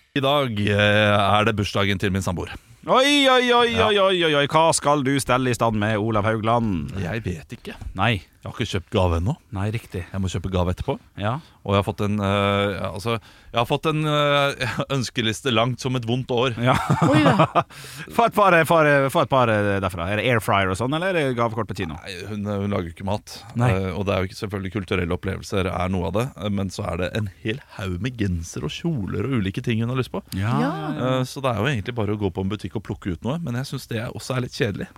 S4: I dag eh, er det bursdagen til min samboer.
S2: Oi, oi, oi, oi, oi, oi, oi. Hva skal du stelle i stand med Olav Haugland?
S4: Jeg vet ikke. Jeg
S2: Nei.
S4: har ikke kjøpt gave ennå.
S2: Nei, riktig.
S4: Jeg må kjøpe gave etterpå.
S2: Ja.
S4: Og jeg har fått en, eh, ja, altså, jeg har fått en eh, ønskeliste langt som et vondt år.
S2: ja.
S3: Oi da.
S2: Få et par, for, for et par eh, derfra. Er det air fryer og sånn, eller er det gavekort på kino?
S4: Nei, Hun, eh, hun lager jo ikke mat,
S2: Nei.
S4: Eh, og det er jo ikke selvfølgelig kulturelle opplevelser er noe av det. eh, Men så er det en hel haug med genser og kjoler og ulike ting hun har lyst på.
S3: Ja.
S4: Eh, Så det er jo egentlig bare å gå på en butikk og plukke ut noe, men jeg syns det også er litt kjedelig.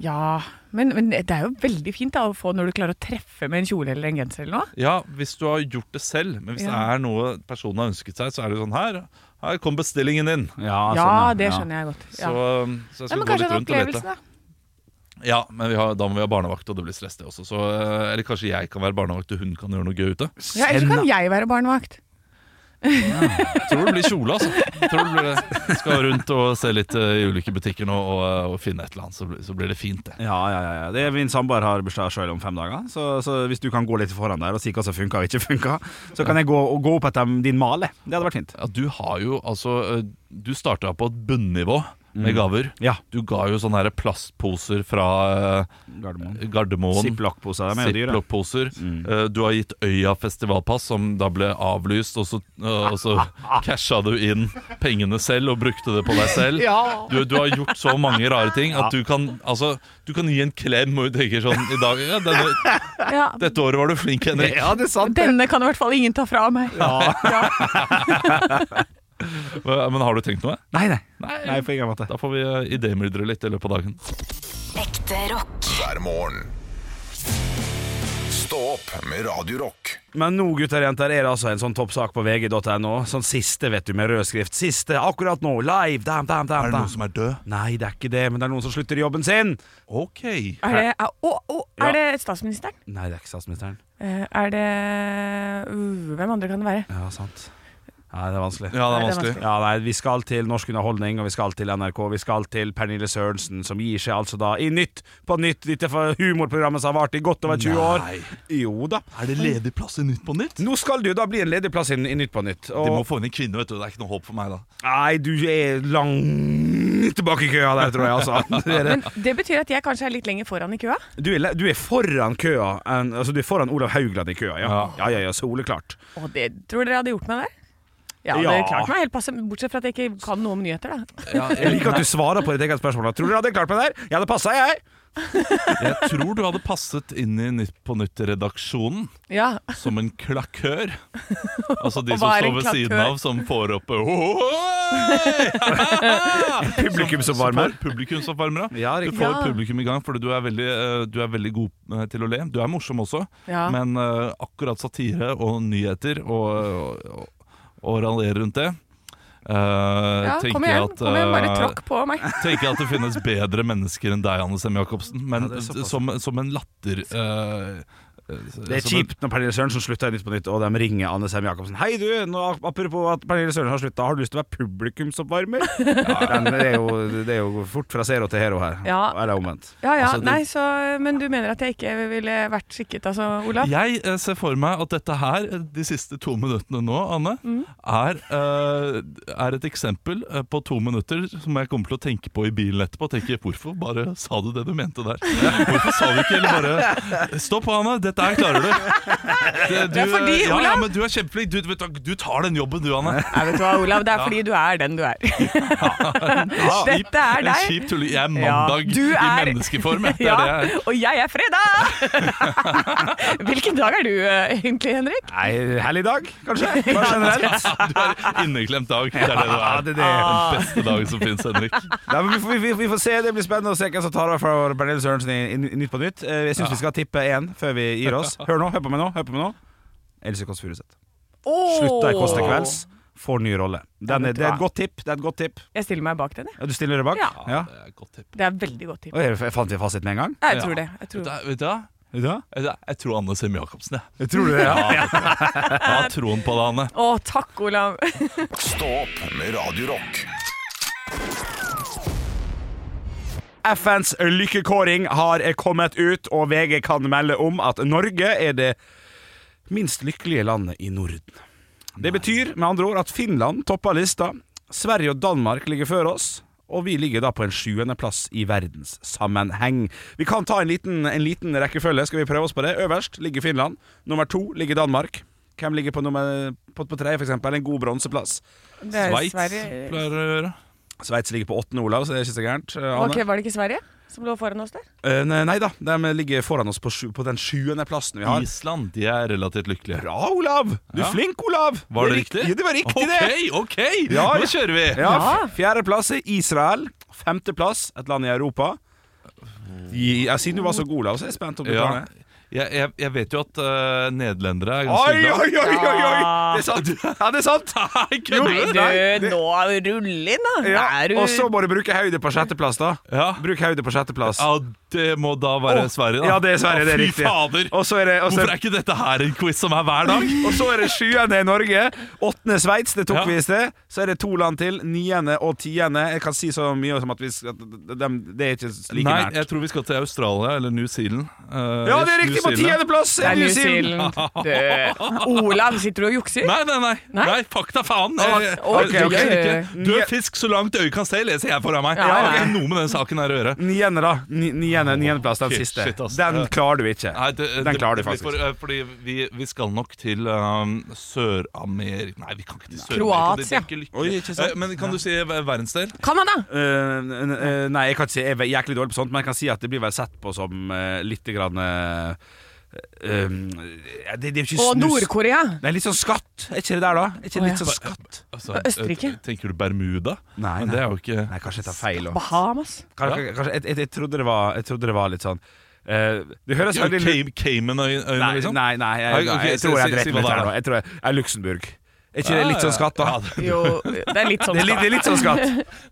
S3: ja. Men, men det er jo veldig fint da, å få når du klarer å treffe med en kjole eller en genser eller noe.
S4: Ja, hvis du har gjort det selv, men hvis det
S3: Ja.
S4: er noe personen har ønsket seg, så er det jo sånn her, her kom bestillingen din.
S2: Ja,
S3: Ja, det skjønner jeg godt.
S4: Så,
S3: Ja.
S4: eh, så
S3: Ja,
S4: jeg skal
S3: men
S4: gå
S3: kanskje
S4: litt
S3: en
S4: rundt og lete.
S3: opplevelse, da.
S4: Ja, men vi har, da må vi ha barnevakt, og det blir stress, det også. Så, eh, eller kanskje jeg kan være barnevakt, og hun kan gjøre noe gøy ute.
S3: Ja, Eller så kan jeg være barnevakt.
S4: Jeg tror det blir kjole, altså. Jeg tror det blir det. Skal rundt og se litt eh, i ulike butikker nå og, eh, og finne et eller annet, så blir, så blir det fint, det.
S2: Ja, ja, ja, ja. Det er min samboer har bursdag sjøl om fem dager, så, så hvis du kan gå litt foran der og si hva som funka og ikke funka, så kan jeg gå, og gå opp etter din male. Det hadde vært fint.
S4: Ja, du har jo altså eh, Du starta på et bunnivå med gaver.
S2: Ja.
S4: Du ga jo sånne her plastposer fra eh,
S2: Gardermoen.
S4: Gardermoen.
S2: Ziplock-poser de er jo dyre.
S4: Ziploc-poser. Eh, Du har gitt Øya festivalpass, som da ble avlyst, og så, eh, og så casha du inn pengene selv og brukte det på deg selv. Du, du har gjort så mange rare ting at du kan, altså, du kan gi en klem og du tenker sånn i dag ja, denne,
S3: Ja.
S4: Dette året var du flink, Henrik.
S2: Ja, det er sant.
S3: Denne kan i hvert fall ingen ta fra meg. Ja.
S4: Men har du tenkt noe?
S2: Nei, nei. Nei, på ingen måte.
S4: Da får vi eh, idémyldre litt i løpet av dagen.
S5: Ekte rock.
S1: hver morgen. Stå opp med Radio Rock.
S2: Men nå, gutter og jenter, er det altså en sånn toppsak på vg.no. Sånn siste, vet du, med rød skrift. Siste, akkurat nå, live! Dam, dam, dam, dam.
S4: er død?
S2: Nei, det er ikke det, men det er noen som slutter i jobben sin!
S4: Ok.
S3: Er det, er, å, å,
S2: Ja.
S3: er det statsministeren?
S2: Nei, det er ikke statsministeren.
S3: Eh, Er det uh, Hvem andre kan det være?
S2: Ja, sant. Nei, det er vanskelig.
S4: Ja,
S3: Nei,
S4: det er
S3: det er
S4: vanskelig.
S2: Ja, nei, Vi skal til Norsk Underholdning, og vi skal til NRK. Vi skal til Pernille Sørensen, som gir seg altså da i Nytt på Nytt, dette humorprogrammet som har vart i godt over 20 år.
S4: Nei.
S2: Jo da.
S4: Er det ledig plass i Nytt på Nytt?
S2: Nå skal det jo da bli en ledig plass i, i Nytt på Nytt.
S4: De må
S2: Og,
S4: få inn en kvinne, vet du. Det er ikke noe håp for meg, da.
S2: nei, du er lang langt tilbake i køa der, tror jeg. Altså. Det er det.
S3: Men det betyr at jeg kanskje er litt lenger foran i køa?
S2: Du, er, le- du er foran køa enn- altså, Du er foran Olav Haugland i køa, ja.
S4: Ja.
S2: Ja, ja, ja soleklart.
S3: Og det tror dere hadde gjort meg der? Ja, det
S2: Ja.
S3: klart meg helt passe, bortsett fra at jeg ikke kan noe om nyheter, da.
S2: Jeg liker at du svarer på ditt eget spørsmål. da. Tror du jeg hadde klart meg der? Jeg hadde passa, jeg.
S4: Jeg tror du hadde passet inn i Nytt på Nytt-redaksjonen
S3: Ja,
S4: som en klakør. Altså de
S3: Og hva
S4: som
S3: er
S4: står
S3: en
S4: ved
S3: klakør?
S4: siden av, som får opp Altså, Publikumsoppvarmer.
S2: Publikumsoppvarmer.
S4: Publikumsoppvarmere.
S2: Ja,
S4: Du
S2: riktig.
S4: får
S3: Ja.
S4: publikum i gang, fordi du er veldig, eh, du er veldig god eh, til å le. Du er morsom også,
S3: Ja.
S4: men eh, akkurat satire og nyheter og, og, og raljere rundt det eh,
S3: ja
S4: tenker
S3: kom
S4: jeg
S3: igjen.
S4: at,
S3: Kom igjen, bare
S4: eh,
S3: tråkk på meg.
S4: tenker jeg at det finnes bedre mennesker enn deg, Anne Sem Jacobsen. Men
S2: Ja, det er såpass.
S4: som, som en latter eh,
S2: Det er
S4: som en-
S2: kjipt når Pernille Sørensen slutter i Nytt på Nytt, og de ringer Anne Sem Jacobsen. 'Hei, du, nå, apropos at Pernille Sørensen har slutta, har du lyst til å være publikumsoppvarmer?' Ja, men det, er jo, det er jo fort fra zero til hero her.
S3: Ja.
S2: Eller omvendt.
S3: Ja, ja,
S4: Altså, det-
S3: nei, så, Men du mener at jeg ikke ville vært skikket, altså, Olav?
S4: Jeg eh, ser for meg at dette her, eh, de siste to minuttene nå, Anne,
S3: Mm.
S4: er, eh, er et eksempel eh, på to minutter som jeg kommer til å tenke på i bilen etterpå. Tenke, hvorfor bare sa du det du mente der? Hvorfor sa du ikke eller bare eh, Stopp, Anne, dette her klarer du. Det- du
S3: Ja, fordi,
S4: eh, ja, ja,
S3: Olav-
S4: men du er kjempeflink. Du, vet du, du tar den jobben du, Anne.
S3: Nei, vet du hva, Olav, det er fordi du er den du er. Dette er
S4: En
S3: deg.
S4: kjip tulling. Jeg er
S3: Ja,
S4: mandag
S3: du
S4: i
S3: er-
S4: menneskeform. jeg. Det
S3: Ja,
S4: er det jeg er.
S3: og jeg er fredag! Hvilken dag er du eh, egentlig, Henrik?
S2: Nei, hellig dag, kanskje? Bare generelt.
S4: Du er inneklemt dag. Det er det du
S2: Ja,
S4: er.
S2: det er det.
S4: Den beste dagen som fins, Henrik.
S2: Nei, men vi, får, vi, vi får se, det blir spennende å se hvem som tar over for Pernille Sørensen i, i Nytt på Nytt. Eh, Jeg syns vi skal tippe én før vi gir oss. Hør nå, hør på meg nå. hør på meg nå Else Kåss Furuseth.
S3: Oh!
S2: Slutta i Kåss til kvelds, får ny rolle. Den er, det er et godt tipp. det er et godt tipp
S3: Jeg stiller meg bak den, jeg.
S2: Ja, Du stiller deg bak?
S3: Ja.
S2: Ja.
S4: Det er et godt tipp.
S3: Det er veldig godt tipp.
S2: Oi, jeg fant vi fasiten med en gang?
S3: Jeg tror det. Jeg tror.
S4: Vet du, vet du, hva?
S2: Ja.
S4: Vet du hva? jeg tror Anne Sem Jacobsen, jeg.
S2: Jeg tror det, ja.
S4: Jeg har troen på det, Anne.
S3: Å, takk, Olav.
S1: Stå opp med Radio Rock.
S2: FNs lykkekåring har kommet ut, og VG kan melde om at Norge er det minst lykkelige landet i Norden. Det betyr med andre ord at Finland topper lista, Sverige og Danmark ligger før oss, og vi ligger da på en sjuendeplass i verdenssammenheng. Vi kan ta en liten, en liten rekkefølge, skal vi prøve oss på det? Øverst ligger Finland, nummer to ligger Danmark. Hvem ligger på, nummer, på, på tre, for eksempel? En god bronseplass.
S3: Det er
S4: Sveits
S3: Sverige.
S4: pleier å gjøre.
S2: Sveits ligger på åttende, Olav, så det er ikke så gærent. Eh, Anne?
S3: Ok, Var det ikke Sverige som lå foran oss der?
S2: Eh, nei, nei da, de ligger foran oss på, sju, på den sjuende plassen vi har.
S4: Island, de er relativt lykkelige.
S2: Bra, Olav! Du er
S4: Ja.
S2: flink, Olav!
S4: Var det
S2: rikt-
S4: riktig?
S2: Ja, det var riktig, det!
S4: Ok, ok!
S2: Ja, ja.
S4: Nå kjører vi!
S2: Ja, f- Fjerdeplass er Israel. Femteplass et land i Europa. I, ja, siden du var så god, Olav, så er jeg spent om du
S4: Ja.
S2: tar det.
S4: Jeg, jeg, jeg vet jo at eh, nederlendere er ganske
S2: Oi, oi,
S4: glad.
S2: oi! oi, oi. Det er sant! Ja, det er sant! Jo,
S3: Du,
S2: nei, det-
S3: nå rull inn, da!
S2: Ja.
S3: Er du-
S2: Og så må du bruke hodet på sjetteplass, da.
S4: Ja.
S2: Bruk hodet på sjetteplass.
S4: ja, det må da være Sverige, da.
S2: Ja, det er Sverige, det er
S4: Fy
S2: riktig.
S4: fader!
S2: Og så er det, og så-
S4: Hvorfor er ikke dette her en quiz som er hver dag?
S2: Og så er det sjuende i Norge, åttende Sveits, det tok
S4: Ja.
S2: vi i sted. Så er det to land til, niende og tiende. Jeg kan si så mye som at, vi, skal- at dem, det er ikke like
S4: Nei,
S2: nært.
S4: jeg tror vi skal til Australia eller New Zealand. Eh,
S2: Ja, det er
S4: New
S2: riktig! På
S4: Zealand.
S2: tiendeplass
S3: Det
S2: er
S3: er
S2: New
S3: New
S2: Zealand.
S3: Zealand. Du. Olav, sitter du og jukser?
S4: Nei, nei, nei.
S3: Nei?
S4: nei. fakta faen.
S3: Ah,
S4: Jeg-
S3: ok,
S4: jeg- jeg-
S2: ok.
S4: jeg- ikke. Død fisk så langt øyet kan se, leser jeg foran meg.
S3: Ja,
S4: Det har
S3: ja.
S4: ikke noe med den saken her å gjøre.
S2: Niende, da. Ni, niende, niendeplass, den
S4: Shit,
S2: siste.
S4: shit, ass.
S2: Den klarer du ikke.
S4: Nei, det,
S2: Den klarer du
S4: blir
S2: faktisk
S4: for- eh, fordi vi, vi skal nok til um, Sør-Amerika Nei, vi kan ikke til Sør-Amerika.
S3: Kroatia.
S4: Det- det er ikke lykke.
S2: Oi, ikke sant?
S4: Eh, Men kan du si eh, verdensdel?
S3: Canada!
S2: Eh, n- eh, nei, jeg kan ikke si jeg er jæklig dårlig på sånt, men jeg kan si at det blir vel sett på som eh, litt grann eh, eh, det, det er jo ikke
S3: Og
S2: snus.
S3: Nord-Korea!
S2: Nei, litt sånn skatt. Er ikke det der, da? Er ikke
S3: Å,
S2: det
S3: ja.
S2: litt sånn skatt?
S4: Altså,
S3: Østerrike.
S4: eh, Tenker du Bermuda?
S2: Nei,
S4: Men
S2: nei.
S4: det er jo ikke
S2: Nei, kanskje jeg tar feil. også.
S3: Bahamas.
S2: Kanskje, kanskje, jeg, jeg, jeg, trodde det var, jeg trodde det var litt sånn eh, Det høres
S4: Ja,
S2: veldig
S4: Cay- Caymanøyene,
S2: Nei,
S4: liksom?
S2: nei, nei jeg,
S4: Nei, ok,
S2: jeg tror
S4: si-
S2: jeg
S4: si-
S2: dreit
S4: si
S2: meg
S4: hva
S2: ut
S4: det er,
S2: her nå.
S4: da.
S2: Jeg tror jeg, jeg er Luxemburg. Er ikke
S4: Ja,
S2: det litt sånn
S4: ja.
S2: skatt, da?
S4: Ja, det-
S3: Jo, det er litt sånn
S2: Det er litt, det er litt sånn skatt.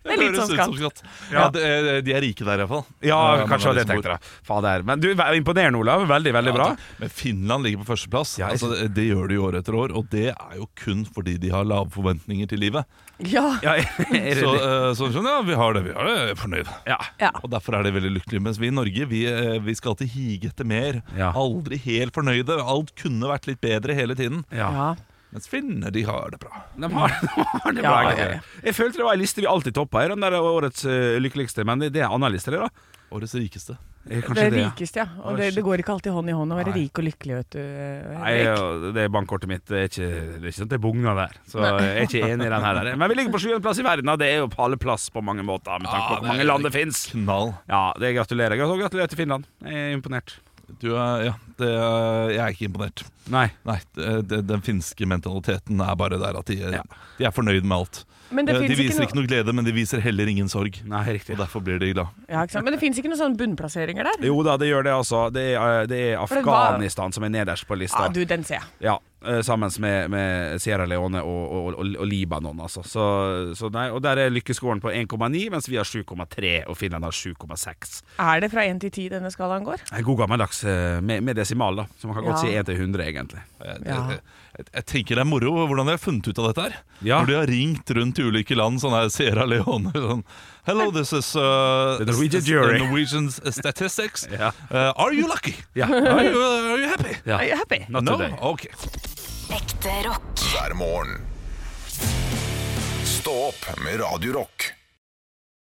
S3: Det er litt
S4: høres
S3: sånn
S4: ut som skatt. Ja, det, er- de er rike der, iallfall.
S2: Ja, kanskje det tenkte jeg. Fader. Men du, vær imponerende, Olav. Veldig, veldig bra.
S4: Men Finland ligger på førsteplass.
S2: Ja, jeg
S4: altså, det, det gjør de jo år etter år, og det er jo kun fordi de har lave forventninger til livet.
S3: Ja,
S2: Ja, er det
S4: Så,
S2: litt-
S4: eh, så skjønner jeg, vi har det, vi har det, jeg er fornøyd.
S2: ja.
S3: ja.
S4: Og derfor er de veldig lykkelige. Mens vi i Norge, vi, eh, vi skal alltid hige etter mer.
S2: Ja.
S4: Aldri helt fornøyde. Alt kunne vært litt bedre hele tiden.
S2: Ja.
S3: ja.
S4: Mens finner, de har det bra.
S2: De har, de har det
S3: Ja,
S2: bra.
S3: ja,
S2: greier.
S3: ja.
S2: Jeg følte det var en liste vi alltid toppa her, den der årets eh, lykkeligste, men det, det er en annen liste, det, da.
S4: Årets rikeste.
S2: Eh,
S3: Det
S2: Kanskje
S3: er
S2: det. ja.
S3: rikeste, ja.
S2: Å,
S3: Og det,
S2: shit.
S3: det går ikke alltid hånd i hånd å være
S2: Nei.
S3: rik og lykkelig, vet du.
S2: Nei,
S3: Henrik.
S2: og det bankkortet mitt det er ikke, det er ikke sånn at det bugner der. Så jeg er ikke enig i den her. der. Men vi ligger på sjuendeplass i verden, og det er jo pallplass på mange måter. Med tanke på hvor mange land det fins.
S4: Knall.
S2: Ja, det gratulerer. Og gratulerer til Finland. Jeg er imponert.
S4: Du er, ja, det er, jeg er ikke imponert.
S2: Nei.
S4: Nei, det, det, Den finske mentaliteten er bare der at de,
S2: Ja.
S4: de er fornøyd med alt.
S3: Men det
S4: Eh, de
S3: finnes
S4: viser
S3: ikke
S4: ikke noe glede, men de viser heller ingen sorg.
S2: Nei, riktig.
S4: Og derfor blir de glad.
S3: Ja, ikke sant? Men det fins ikke noen sånne bunnplasseringer der?
S2: Jo da, det gjør det, altså. Det er, eh, det er
S3: det var-
S2: Afghanistan som er nederst på lista.
S3: Ja, Ah, du, den ser jeg.
S2: Ja, eh, sammen med, med Sierra Leone og, og, og, og Libanon, altså. Så, så nei, og der er lykkeskåren på 1,9, mens vi har 7,3, og Finland har 7,6.
S3: Er det fra én til ti denne skalaen går?
S2: En God gammeldags eh, med, med desimal, da. Så man kan godt
S3: Ja.
S2: si 1 til 100, egentlig.
S4: Jeg,
S3: Ja.
S4: jeg, jeg, jeg tenker det er moro hvordan de har funnet ut av dette her.
S2: Ja.
S4: Når de har ringt rundt til ulike land, sånn her Sierra Leone sånn, Hello, this is uh,
S2: The Norwegian
S4: s-
S2: jury."
S4: the Norwegian statistics.
S2: Ja.
S4: Uh, are you lucky?
S2: Ja.
S4: Are you, uh, are you happy?
S2: Ja.
S3: Are you happy?
S2: Not
S4: no?
S2: today.
S4: Ok.
S5: Ekte rock.
S1: hver morgen. Stå opp med Radio Rock.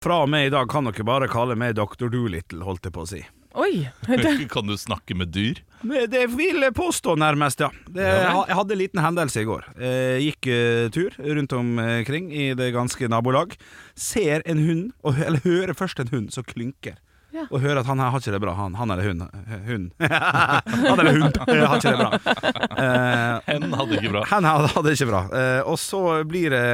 S2: Fra og med i dag kan dere bare kalle meg Dr. Doolittle, holdt jeg på å si.
S3: Oi! Det,
S4: Kan du snakke med dyr?
S2: Men Det vil jeg påstå, nærmest, ja. Det, jeg ha- jeg hadde en liten hendelse i går. Eh, gikk eh, tur rundt omkring i det ganske nabolag. Ser en hund, og, hø- eller hører først en hund som klynker.
S3: Ja.
S2: Og hører at han her har ikke det bra, han, han eller hun. eh, hun. han eller hund eh, har ikke det bra. Eh,
S4: Hen hadde ikke bra.
S2: han her hadde det ikke bra. Eh, og så blir det,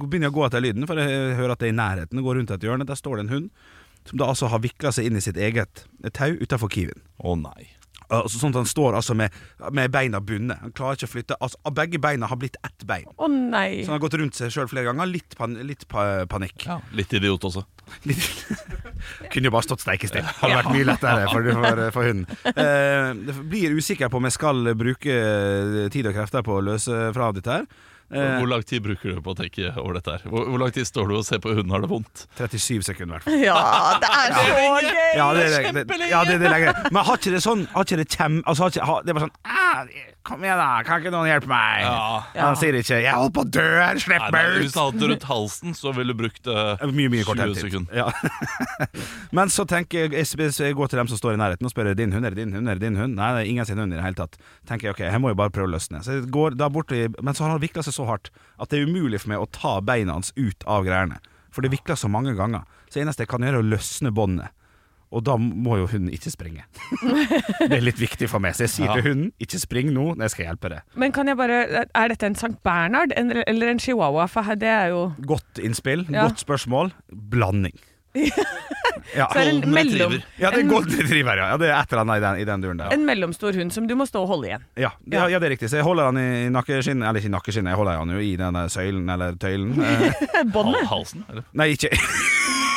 S2: begynner jeg å gå etter lyden, for jeg hører at det er i nærheten. Går rundt et hjørne, der står det en hund som da altså har vikla seg inn i sitt eget eh, tau utafor Kiwien.
S4: Å nei.
S2: Altså, sånn at han står altså med, med beina bundet. Han klarer ikke å flytte. Altså, begge beina har blitt ett bein.
S3: å nei.
S2: Så han har gått rundt seg sjøl flere ganger. Litt, pan litt pa panikk.
S4: Ja, litt idiot også.
S2: Litt. Kunne jo bare stått steikestill. Hadde vært mye lettere for, for, for hunden. Eh, det blir usikker på om jeg skal bruke eh, tid og krefter på å løse fra dette her. Eh,
S4: Hvor lang tid bruker du på å tenke over dette her? Hvor, hvor lang tid står du og ser på hunden har det vondt?
S2: 37 sekunder, i hvert fall.
S3: Ja, det er så gøy!
S2: Ja, det, er- det, det, ja, det, det legger jeg. Men har ikke det sånn har ikke det, kjem, altså, har ikke, har, det er bare sånn "Ah, Kom igjen, da. Kan ikke noen hjelpe meg?
S4: Ja.
S2: Han sier ikke 'Jeg holder på å dø her, slipp
S4: Nei, nei,
S2: meg ut'.
S4: Hvis han hadde det rundt halsen, så ville du brukt eh,
S2: Mye, mye kortere
S4: 20
S2: tid.
S4: sekunder.
S2: Ja. Men så tenker jeg, jeg jeg går til dem som står i nærheten og spør er det din hund, er det din hund, er det din hund? Nei, det er ingen sin hund i det hele tatt. Tenker jeg, ok, jeg må jo bare prøve å løsne. Så jeg går da bort i, men så har han vikla seg så hardt at det er umulig for meg å ta beina hans ut av greiene. For det vikler så mange ganger. Så det eneste jeg kan gjøre er å løsne båndet. Og da må jo hunden ikke springe. det er litt viktig for meg. Så jeg sier til hunden ikke spring nå, jeg skal hjelpe deg.
S3: Men kan jeg bare Er dette en Sankt Bernhard en- eller en chihuahua? For her- det er jo
S2: Godt innspill,
S3: Ja.
S2: godt spørsmål. Blanding. ja.
S3: Så er det en,
S4: Golden
S3: mellom,
S4: retriever.
S2: Ja, det er golden retriever, ja. ja det er et eller annet i den, i den duren der.
S3: en mellomstor hund som du må stå og holde igjen.
S2: Ja, det, ja, det er riktig. Så jeg holder han i nakkeskinnet, eller ikke i nakkeskinnet, jeg holder han jo i denne søylen eller tøylen. Eh,
S4: Hal,
S3: Båndet.
S4: halsen? Eller?
S2: nei, ikke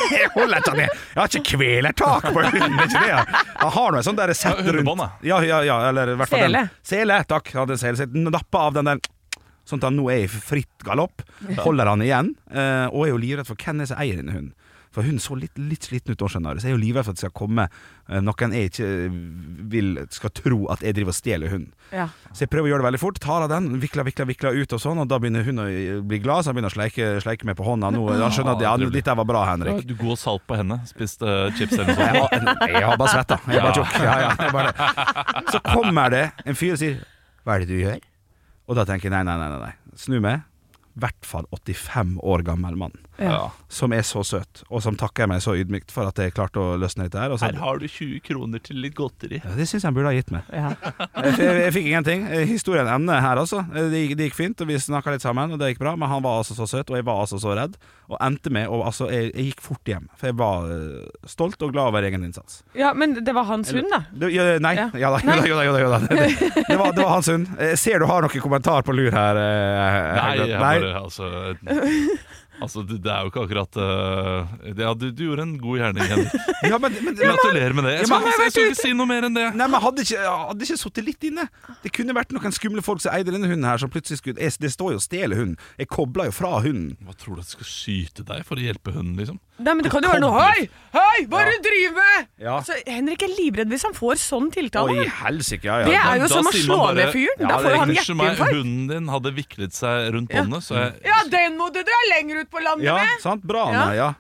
S2: Jeg holder ikke han ned. Jeg har ikke kvelertak på hunden, ikke det? ja. Han har nå en sånn der sett
S4: Ja,
S2: rundt
S4: hundebånd, da.
S2: Ja, ja, ja, eller i hvert fall den.
S3: Sele.
S2: Sele, takk. Ja, det er sele. Så jeg napper av den der sånn at han nå er i fritt galopp. Holder han igjen, eh, og er jo livredd for hvem er det som eier denne hunden. For hun så litt, litt sliten ut nå, skjønner du. Så jeg er jo livredd for at det skal komme eh, noen jeg ikke vil, skal tro at jeg driver og stjeler hunden.
S3: Ja.
S2: Så jeg prøver å gjøre det veldig fort. Tar av den, vikler, vikler, vikler ut og sånn, og da begynner hun å bli glad, så han begynner å sleike, sleike meg på hånda nå. Han skjønner at ja,
S4: trivelig.
S2: dette var bra, Henrik.
S4: Du god salt på henne. Spist eh, chips eller noe
S2: Jeg
S4: sånt.
S2: har, jeg har bare svetta. Jeg er bare tjukk. Ja, ja, jeg er bare det. så kommer det en fyr og sier 'Hva er det du gjør?' Og da tenker jeg nei, nei, nei. nei, nei. Snu meg. I hvert fall 85 år gammel mann,
S4: Ja.
S2: som er så søt, og som takker meg så ydmykt for at jeg klarte å løsne dette her. Og så,
S4: Her har du 20 kroner til litt godteri.
S2: ja, det syns jeg han burde ha gitt meg.
S3: Ja.
S2: Jeg, jeg, jeg fikk ingenting. Eh, Historien ender her, altså. Eh, Det gikk, det gikk fint, og vi snakka litt sammen, og det gikk bra. Men han var altså så søt, og jeg var altså så redd. Og endte med og, altså, jeg, jeg gikk fort hjem, for jeg var eh, stolt og glad over egen innsats.
S3: ja, men det var hans hund, da.
S2: Det, ja, nei. Ja.
S3: Ja.
S2: da, jo da, jo da. Jo da, jo da. Det, det, det, var, det var hans hund. Jeg ser du har noen kommentar på lur her. eh,
S4: Nei,
S2: Helge.
S4: jeg bare, altså, altså det det er jo ikke akkurat eh, det- Ja, du, du gjorde en god gjerning, Henrik.
S2: Ja, men, men, men,
S4: Gratulerer med det. Jeg
S2: Ja,
S4: skal
S2: men-
S4: ikke, jeg skal ikke si noe mer enn det.
S2: Nei, men hadde ikke, hadde ikke sittet litt inne. Det kunne vært noen skumle folk som eide denne hunden her, som plutselig skulle jeg- Det står jo 'stjele hunden'. Jeg kobla jo fra hunden.
S4: Hva tror du at jeg skal skyte deg for å hjelpe hunden, liksom?
S3: Nei, men det kan jo være noe Hei! Hei! Hva er det du driver med?!
S2: Ja.
S3: Altså, Henrik er livredd hvis han får sånn tiltale.
S2: Oi,
S3: men
S2: helsike, ja, ja.
S3: Det er jo
S4: Da
S3: som å
S4: sier
S3: slå
S4: man bare-
S3: ned fyren.
S2: Ja,
S3: Da
S2: det
S3: får
S2: er
S3: jo han
S4: Unnskyld meg,
S3: hjerteinfarkt.
S4: hunden din hadde viklet seg rundt båndet, så jeg
S3: Ja, den må du dra lenger ut på landet
S2: Ja,
S3: med!
S2: sant? Bra, Anne. Ja.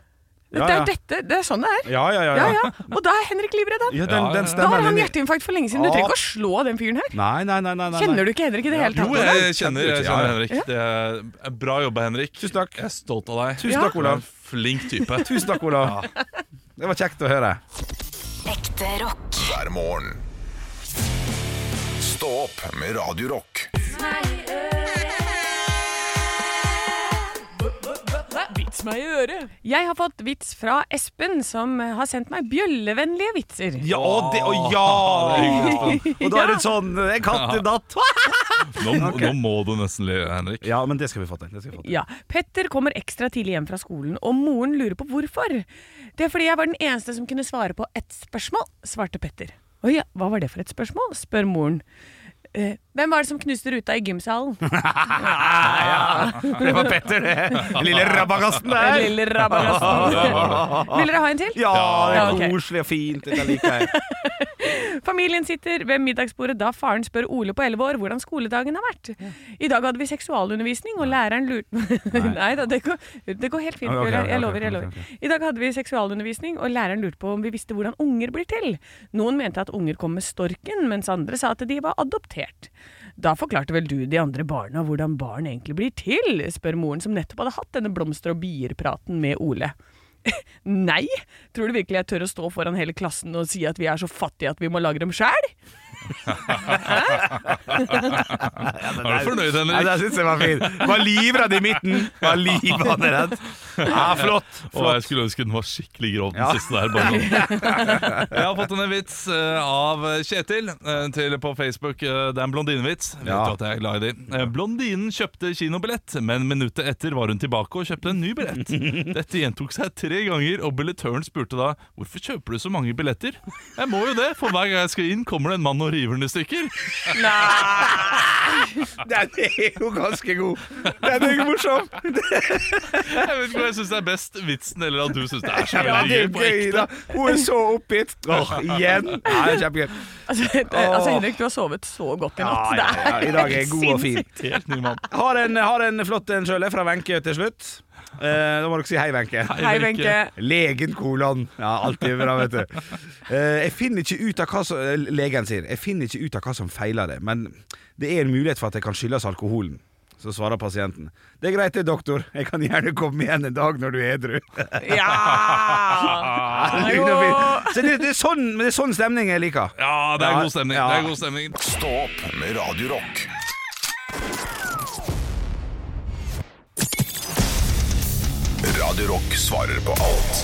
S3: Det
S2: Ja,
S3: er
S2: ja.
S3: jo dette, det er sånn det er.
S2: Ja, ja, ja.
S3: Ja,
S2: ja.
S3: ja. Og da er Henrik livredd, han.
S2: ja den, den
S3: Da har
S2: stemmen
S3: han
S2: din
S3: hjerteinfarkt for lenge siden. Du
S2: Ja.
S3: trenger ikke å slå den fyren her.
S2: Nei, nei, nei. nei, nei.
S3: Kjenner du ikke Henrik i det hele
S4: Jo,
S3: tatt? Olav?
S4: jeg kjenner, jeg
S2: Ja,
S4: kjenner
S2: ja.
S4: Henrik. Det er bra jobba, Henrik.
S2: Tusen takk.
S4: Jeg er stolt av deg.
S2: Tusen takk,
S4: Du er en
S2: Olav.
S4: Flink type.
S2: Tusen takk, Olav. Det var kjekt å høre.
S5: Ekte rock.
S1: hver morgen. Stå opp med Radio Rock.
S3: Vits meg i øret. Jeg har fått vits fra Espen, som har sendt meg bjøllevennlige vitser.
S2: Ja, og det, og ja! Og da er det sånn En katt i datt.
S4: Nå, nå må du nesten le, Henrik.
S2: Ja, men det skal vi få til. Det skal vi få til.
S3: Ja. Petter kommer ekstra tidlig hjem fra skolen, og moren lurer på hvorfor. Det er fordi jeg var den eneste som kunne svare på ett spørsmål, svarte Petter. Å ja, hva var det for et spørsmål? spør moren. «Eh, hvem var det som knuste ruta i gymsalen?
S2: Det var Petter, det. Den Lille rabagasten
S3: Den
S2: der.
S3: lille rabagassen. Vil dere ha en til?
S2: Ja, det
S3: Ja,
S2: er
S3: ok.
S2: koselig og fint. Dette liker jeg.
S3: Familien sitter ved middagsbordet da faren spør Ole på 11 år hvordan skoledagen har vært. I dag hadde vi seksualundervisning, og læreren lurte Nei da, det går, det går helt fint.
S2: Ok, ok,
S3: Bjørnar. jeg
S2: ok,
S3: lover, jeg
S2: ok,
S3: lover. I dag hadde vi seksualundervisning, og læreren lurte på om vi visste hvordan unger blir til. Noen mente at unger kom med storken, mens andre sa at de var adoptert. Da forklarte vel du de andre barna hvordan barn egentlig blir til, spør moren som nettopp hadde hatt denne blomster og bier-praten med Ole. Nei! Tror du virkelig jeg tør å stå foran hele klassen og si at vi er så fattige at vi må lage dem sjæl?
S4: Er du fornøyd,
S2: Nei,
S4: Henrik?
S2: det syns jeg var fint. Var livredd i midten. Var livredd redd. Ja, flott.
S4: Og jeg
S2: flott.
S4: skulle ønske den var skikkelig grov, den
S2: Ja.
S4: siste der. Bare sånn. Jeg har fått en vits eh, av Kjetil eh, til på Facebook. Eh, Det er en blondinevits. Vet
S2: Ja.
S4: du at jeg er glad i de. Eh, Blondinen kjøpte kinobillett, men minuttet etter var hun tilbake og kjøpte en ny billett. Dette gjentok seg tre ganger, og billettøren spurte da hvorfor kjøper du så mange billetter. Jeg må jo det, for hver gang jeg skal inn, kommer det en mann og river den i stykker.
S2: Den er jo ganske god. Den er jo morsom.
S4: Jeg vet ikke hva jeg syns er best, vitsen eller at du syns det er så
S2: Ja, det
S4: veldig
S2: er
S4: gøy. på
S2: gøy, da. Hun er så oppgitt. Åh, igjen. Ja, det er kjempegøy.
S3: Altså, det, altså Henrik, du har sovet så godt i
S2: Ja,
S3: natt.
S2: ja, ja. I dag er jeg god og fin.
S4: ekte. Helt ny mann.
S2: Har en, har en flott en sjøl, fra Wenche til slutt. Eh, da må dere si hei, Wenche.
S3: Hei, Wenche.
S2: Legen kolon. Ja, alltid bra, vet du. Eh, jeg finner ikke ut av hva som eh, Legen sier Jeg finner ikke ut av hva som feiler det, men det er en mulighet for at det kan skyldes alkoholen. Så svarer pasienten. Det er greit det, doktor. Jeg kan gjerne komme igjen en dag når du er edru.
S3: Ja!
S2: Lugn og fin. Så det, det, er sånn, men det er sånn stemning jeg liker.
S4: Ja, det er
S2: Ja,
S4: god stemning.
S2: ja.
S4: Det er god stemning.
S1: Stå opp med Radio Rock. Radio Rock svarer på alt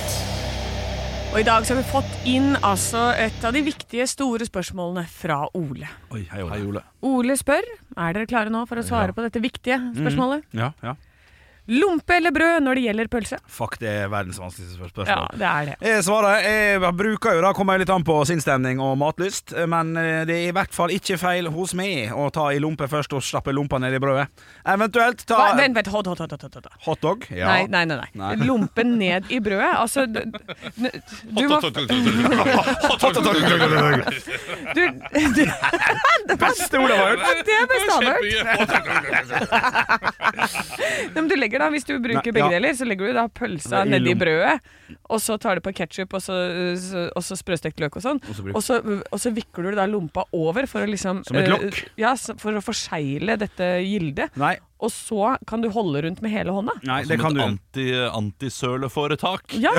S3: Og i dag så har vi fått inn altså et av de viktige, store spørsmålene fra Ole.
S4: Oi, hei, Ole. Hei, Ole.
S3: Ole spør er dere klare nå for å svare på dette viktige
S2: Mm.
S3: spørsmålet.
S2: Ja, ja.
S3: Lompe eller brød når det gjelder pølse?
S2: Fuck, det er verdens vanskeligste spør- spørsmål.
S3: Ja, det er det.
S2: Jeg svarer, jeg bruker jo da, kommer jeg litt an på sinnsstemning og matlyst, men eh, det er i hvert fall ikke feil hos meg å ta i lompe først og stappe lompa ned i brødet. Eventuelt ta
S3: Hva, vent, vent, hot, hot, hot, hot, hot, hot.
S2: hotdog. Ja.
S3: Nei, nei, nei, nei. Lompen ned i brødet. Altså, du, du, du må du, du,
S2: Beste ordet jeg har hørt.
S3: Det er best avhørt. Nei, men du legger da, Hvis du bruker
S2: Nei,
S3: begge
S2: ja.
S3: deler, så legger du da pølsa
S2: I
S3: nedi
S2: lom-
S3: brødet. Og så tar du på ketsjup og, så- så- og så sprøstekt løk og sånn.
S2: så bruk-
S3: Og så, og så vikler du da lompa over for å liksom
S2: Som et
S3: eh,
S2: lokk?
S3: Ja, så- for å forsegle dette gildet.
S2: Nei,
S3: Og så kan du holde rundt med hele hånda.
S2: nei det
S4: Som
S2: kan
S4: Altså, et
S2: du.
S4: anti, antisøleforetak.
S3: Ja,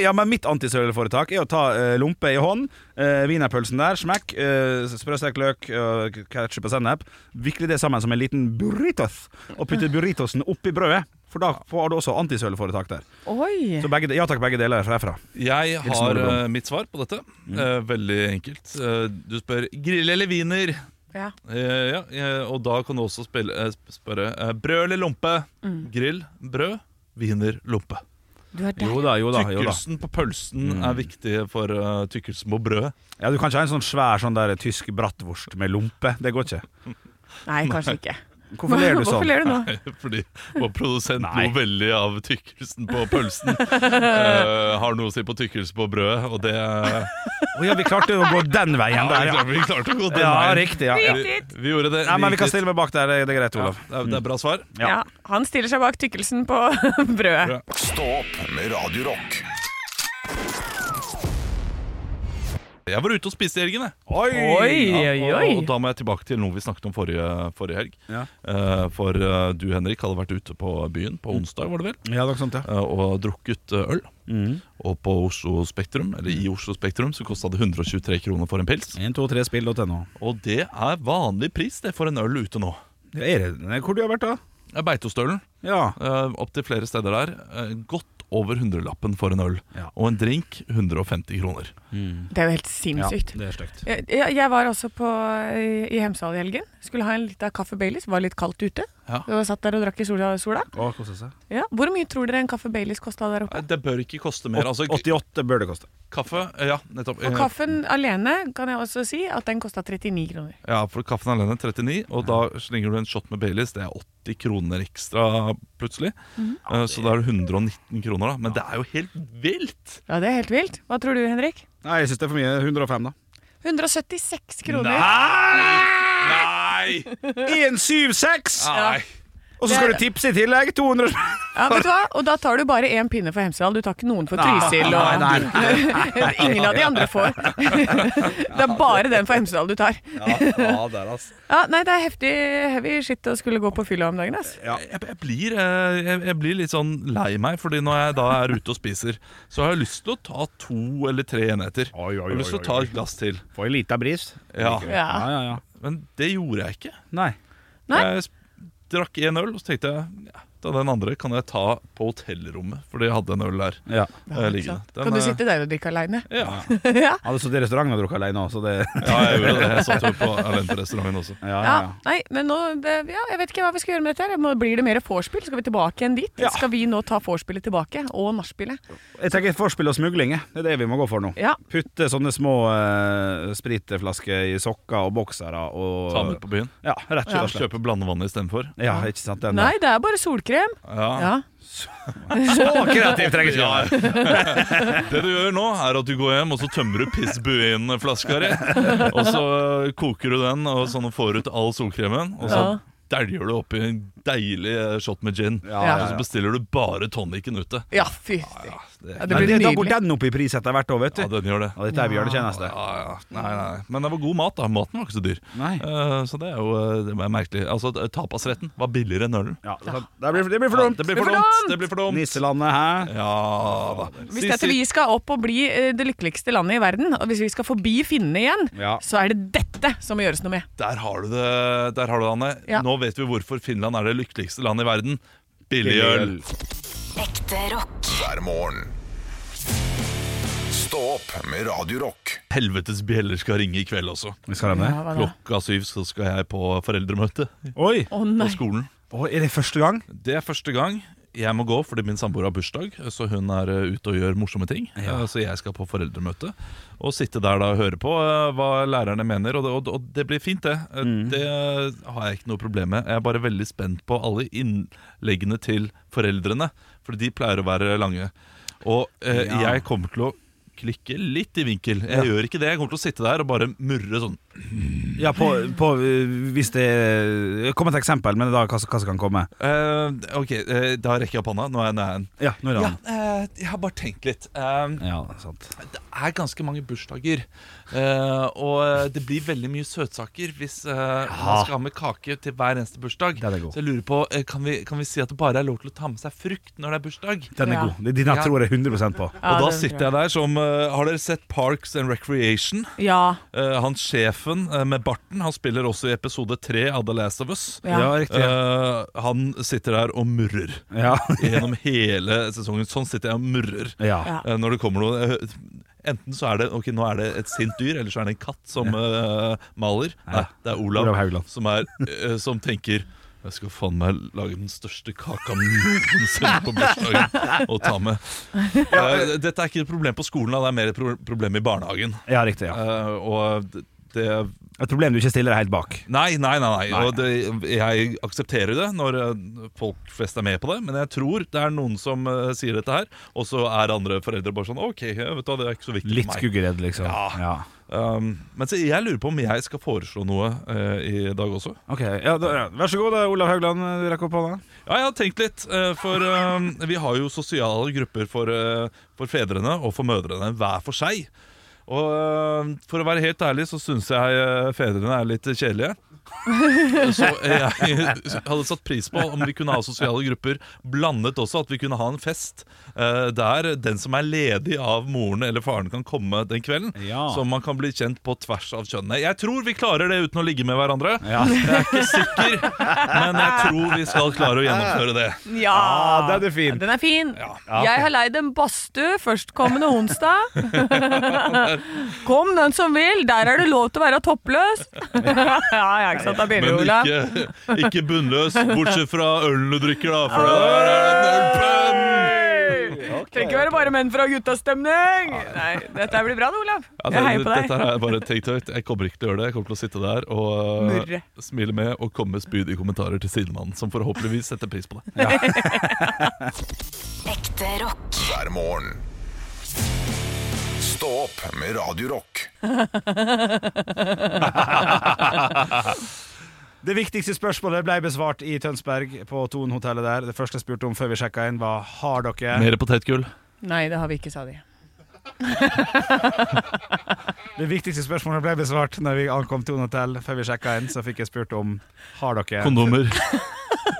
S2: ja, men mitt antisøleforetak er å ta eh, lompe i hånd, uh, wienerpølsen der, smekk, uh, sprøstekt løk, uh, ketchup og sennep, vikle det sammen som en liten burritos, og putte burritosen oppi brødet, for da får du også antisøleforetak der.
S3: Oi!
S2: Så begge, ja takk, begge deler er herfra.
S4: Jeg
S2: Hilsen Mm.
S4: har
S2: Ole Blom.
S4: eh, mitt svar på dette. Eh, veldig enkelt. Eh, du spør grill eller wiener.
S3: Ja.
S4: Eh, ja, eh, og da kan du også spille, eh, sp- spørre eh, brød eller lompe.
S3: Mm.
S4: Grill, brød, wiener, lompe.
S3: Du er der.
S2: Jo da, jo da, jo da. Mm.
S4: Tykkelsen på pølsen er viktig for eh, tykkelsen på brødet.
S2: Ja, Du kan ikke ha en sånn svær sånn der tysk bratwurst med lompe. Det går ikke.
S3: Nei, kanskje ikke.
S2: Hvorfor ler du
S3: Hvorfor
S2: sånn?
S3: ler du nå?
S4: Fordi vår produsent
S2: Nei.
S4: lo veldig av tykkelsen på pølsen. Eh, har noe å si på tykkelse på brødet, og det
S2: Å ja, vi klarte jo å gå den veien
S4: Ja,
S2: der, ja.
S4: Vi klarte å gå den
S2: Ja,
S4: veien.
S2: riktig. Ja, ja.
S4: Vi, vi gjorde det.
S2: Nei, men vi kan
S4: gikk litt-
S2: stille meg bak der. Det er greit,
S4: Ja,
S2: Olav.
S4: det er- det er bra svar.
S2: Ja.
S3: Ja. Han stiller seg bak tykkelsen på brødet.
S1: Stå opp med Radio Rock.
S4: Jeg var ute og spiste i helgen, jeg.
S2: Oi!
S3: Oi, oi, oi.
S4: Og, og da må jeg tilbake til noe vi snakket om forrige, forrige helg.
S2: Ja.
S4: Eh, for eh, du, Henrik, hadde vært ute på byen på onsdag, var det vel?
S2: Ja, det er sant, ja.
S4: eh, og drukket eh, øl.
S2: Mm.
S4: Og på Oslo Spektrum, eller i Oslo Spektrum så kosta det 123 kroner for en pils.
S2: 123 spill.no.
S4: Og det er vanlig pris det for en øl ute nå.
S2: Hvor du har vært, da?
S4: Det er Beitostølen.
S2: Ja.
S4: Uh, Opptil flere steder der. eh, godt over hundrelappen for en øl.
S2: Ja.
S4: Og en drink 150 kroner.
S3: Det er jo helt
S2: ja
S3: sinnssykt.
S2: det er stygt.
S3: Jeg, jeg jeg var også på, i i Hemsedal i helgen. Skulle ha en liten kaffe Baileys. Var litt kaldt ute.
S4: Ja.
S3: Og satt der og drakk i sola. sola.
S2: Å, koste seg.
S3: Ja. Hvor mye tror dere en kaffe Baileys kosta der oppe?
S4: Nei, Det bør ikke koste mer. Altså,
S2: 88 bør det koste.
S4: kaffe eh, Ja, nettopp.
S3: Og
S4: Eh,
S3: kaffen alene kan jeg også si at den kosta 39 kroner.
S4: Ja, for kaffen alene er 39, og da slenger du en shot med Baileys. Det er 80 kroner ekstra plutselig. Eh, Så da er det 119 kroner, da. Men det er jo helt vilt!
S3: Ja, Det er helt vilt. Hva tror du, Henrik?
S2: Nei, jeg syns det er for mye. 105, da.
S3: 176 kroner.
S4: Ah! Nei!
S2: 176!
S4: Nei.
S2: Og så skal du tipse i tillegg! 200
S3: Ja, vet du hva? Og da tar du bare én pinne for Hemsedal. Du tar ikke noen for Trysil.
S2: Nei,
S3: Og...
S2: nei, nei.
S3: Ingen av de andre får. Det er bare den for Hemsedal du tar.
S2: Ja, ja, der, altså.
S3: Ja, nei, det er heftig heavy shit å skulle gå på fylla om dagen. ass.
S4: Jeg, jeg, blir, eh, jeg, jeg blir litt sånn lei meg, fordi når jeg da er ute og spiser, så har jeg lyst til å ta to eller tre enheter.
S2: Oi, oi,
S4: jeg har lyst til
S2: oi,
S4: å ta
S2: oi.
S4: et glass til.
S2: Få ei lita bris.
S4: Ja,
S2: Ja,
S3: Ja.
S2: ja, ja.
S4: Men det gjorde jeg ikke.
S2: Nei.
S3: Nei.
S4: Jeg sp- drakk én øl, og så tenkte jeg ja, da den andre kan jeg ta på hotellrommet, fordi jeg hadde en øl der.
S2: Ja.
S4: eh, liggende. Den,
S3: Kan du
S4: eh,
S3: sitte der og drikke aleine?
S4: Ja.
S2: Hadde sittet i restauranten og drukket alene òg, så det
S4: Ja, jeg gjorde det. Jeg satt jo på alene på restauranten også.
S2: Ja, ja.
S3: Ja,
S2: ja.
S3: nei, men nå det, ja, Jeg vet ikke hva vi skal gjøre med dette. her Må- Blir det mer vorspiel? Skal vi tilbake igjen dit? Skal vi nå ta vorspielet tilbake? Og nachspielet?
S2: Jeg tenker forspill og smugling. jeg. Det er det vi må gå for nå.
S3: Ja.
S2: Putte sånne små eh, spritflasker i sokker og boksere og
S4: Ta med på byen.
S2: Ja, rett og slett.
S4: Kjøpe blandevann istedenfor.
S2: Ja, ikke sant? Den
S3: Nei, det er bare solkrem.
S2: Ah.
S4: Ja.
S3: Ja.
S2: der. Så kreativ trenger ikke jeg være!
S4: Det du gjør nå, er at du går hjem og så tømmer du pissbuin-flaska di. Og så øh, koker du den og sånn og får ut all solkremen. Og så
S3: Ja.
S4: dæljer du oppi en deilig øh, shot med gin.
S2: Ja,
S3: Ja.
S4: Og så bestiller du bare tonicen ute.
S3: Ja, fy ja,
S4: det-
S3: det
S2: Men
S3: blir
S2: det, da går
S3: nydelig.
S2: den opp i pris etter hvert òg, vet du.
S4: Ja, den gjør det.
S2: Ja, dette er bjørnetjeneste.
S4: Ja, ja. Nei, nei. Men det var god mat, da. Maten var ikke så dyr.
S2: Nei.
S4: Eh, så det er jo øh, det er merkelig. Altså, Tapasretten var billigere enn ølen.
S2: Ja, det, det, blir, det blir for dumt.
S4: Det blir for
S3: for
S4: dumt!
S3: dumt!
S4: Det blir for dumt.
S2: Nisselandet, hæ?
S4: Ja da.
S3: Hvis dette vi skal opp og bli eh, det lykkeligste landet i verden, og hvis vi skal forbi finnene igjen,
S2: Ja.
S3: så er det dette som må gjøres noe med.
S4: Der har du det, der har du det Anne.
S3: Ja.
S4: Nå vet vi hvorfor Finland er det lykkeligste landet i verden. Billig øl.
S5: Ekte rock.
S1: hver morgen. Stå opp med Radio Rock.
S4: Helvetes bjeller skal ringe i kveld også.
S2: Vi skal ha det.
S3: Ja, hva da?
S4: Klokka syv så skal jeg på foreldremøte
S2: Oi!
S3: Å
S4: på
S3: nei.
S4: skolen.
S2: Oi, er det første gang?
S4: Det er første gang jeg må gå fordi min samboer har bursdag, så hun er eh, ute og gjør morsomme ting. Eh, Så jeg skal på foreldremøte og sitte der da og høre på eh, hva lærerne mener. Og det, og, og det blir fint, det. Eh, Det har jeg ikke noe problem med. Jeg er bare veldig spent på alle innleggene til foreldrene, for de pleier å være lange. Og eh,
S2: Ja.
S4: jeg kommer til å klikke litt i vinkel. Jeg gjør ikke det. Jeg kommer til å sitte der og bare murre sånn.
S2: Ja, på, på øh, Hvis det Kom et eksempel, men da hva som hva som kan komme.
S4: Eh, ok, eh, da rekker jeg opp hånda. Nå er jeg nær.
S2: Ja, nå er det
S4: Ja,
S2: han.
S4: eh, jeg har bare tenkt litt. Eh,
S2: Ja, sant.
S4: det er ganske mange bursdager. eh, og det blir veldig mye søtsaker hvis eh, man skal ha med kake til hver eneste bursdag.
S2: Den er god.
S4: Så jeg lurer på, eh, kan, vi, kan vi si at det bare er lov til å ta med seg frukt når det er bursdag?
S2: Den er
S3: Ja.
S2: god. Den her tror jeg 100 på.
S3: Ja,
S4: og da
S3: det tror
S4: sitter jeg der som eh, Har dere sett Parks and Recreation?
S3: Ja.
S4: Eh, han sjefen eh, med barten Han spiller også i episode tre av The Last of Us.
S3: Ja.
S2: Ja, riktig.
S4: Eh, han sitter der og murrer
S2: Ja.
S4: gjennom hele sesongen. Sånn sitter jeg og murrer.
S2: ja.
S3: Ja.
S4: Eh, Når det kommer noe eh, Enten så er det Ok, nå er det et sint dyr, eller så er det en katt som eh, maler. Nei, det er Olav,
S2: Olav Haugland.
S4: som, er, eh, som tenker jeg skal faen meg lage den største kaka noensinne på bursdagen og ta med. Eh, dette er ikke et problem på skolen, da, det er mer et pro problem i barnehagen.
S2: Ja, riktig. ja
S4: Eh, og d- det
S2: Et problem du ikke stiller deg helt bak.
S4: Nei, nei, nei. nei. Og det, jeg aksepterer det når eh, folk flest er med på det, men jeg tror det er noen som eh, sier dette her, og så er andre foreldre bare sånn OK, ja, vet du hva, det er ikke så viktig
S2: Litt
S4: for meg.
S2: skuggeredd, liksom.
S4: Ja. Um, men se, jeg lurer på om jeg skal foreslå noe eh, i dag også.
S2: Ok, ja, da, ja. Vær så god, det er Olav Haugland. Du rekker opp hånda.
S4: Ja, jeg har tenkt litt, eh, for eh, vi har jo sosiale grupper for, eh, for fedrene og for mødrene hver for seg. Og eh, for å være helt ærlig så syns jeg eh, fedrene er litt kjedelige. Så jeg hadde satt pris på om vi kunne ha sosiale grupper blandet også. At vi kunne ha en fest eh, der den som er ledig av moren eller faren, kan komme den kvelden.
S2: Ja.
S4: Så man kan bli kjent på tvers av kjønnene. Jeg tror vi klarer det uten å ligge med hverandre.
S2: Ja.
S4: Jeg er ikke sikker, men jeg tror vi skal klare å gjennomføre det.
S3: Ja,
S2: Ah, den er fin.
S3: Den er fin.
S2: Ja, ok.
S3: Jeg har leid en badstue førstkommende onsdag. Kom den som vil, der er det lov til å være toppløs. ja, ja, ikke sant, da begynner vi,
S4: Men
S3: Ola.
S4: ikke, ikke bunnløs, bortsett fra ølen du drikker, da. For der er det en ølplan!
S3: Trenger ikke være bare menn fra guttastemning. Nei, dette blir bra, Olav.
S4: Ja,
S3: Jeg
S4: det-
S3: heier på
S4: Dette
S3: deg.
S4: her er bare tenkt høyt. Jeg kommer ikke til å gjøre det. Jeg kommer til å sitte der og uh,
S3: Murre.
S4: smile med og komme med spydige kommentarer til sidemannen, som forhåpentligvis setter pris på det.
S5: Ekte rock.
S1: hver morgen. Stå opp med Radio Rock.
S2: Det viktigste spørsmålet ble besvart i Tønsberg, på Thon-hotellet der. Det første jeg spurte om før vi sjekka inn, var har dere
S4: Mer potetgull.
S3: Nei, det har vi ikke, sa de.
S2: Det viktigste spørsmålet ble besvart når vi ankom Thon hotell. Før vi sjekka inn, så fikk jeg spurt om har dere
S4: Kondomer.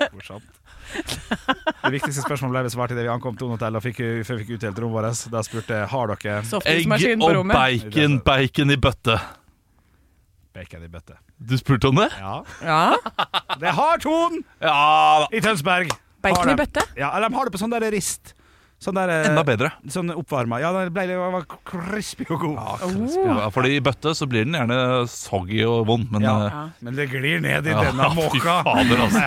S2: Fortsatt. Det viktigste spørsmålet ble besvart idet vi ankom Thon hotell og fikk, før vi fikk utdelt rommet vårt. Da spurte jeg har dere
S4: Egg
S3: Softdiskmaskin på
S4: og
S3: rommet.
S4: bacon. Bacon i bøtte.
S2: bacon i bøtte.
S4: Du spurte om det?
S2: Ja.
S3: Ja,
S2: Det har Thon
S4: Ja da.
S2: i Tønsberg! Har
S3: Bacon i
S2: de-
S3: bøtte.
S2: Ja, eller de har det på sånn der rist. Sånn der eh,
S4: Enda bedre.
S2: Sånn oppvarma. Ja, det ble det var crispy og god.
S4: Ah,
S3: Oh.
S4: Ja, fordi i bøtte så blir den gjerne soggy og vond, men
S2: Ja.
S4: eh,
S2: Men det glir ned i
S4: Ja,
S2: denne
S4: fy
S2: måka.
S4: fader, altså.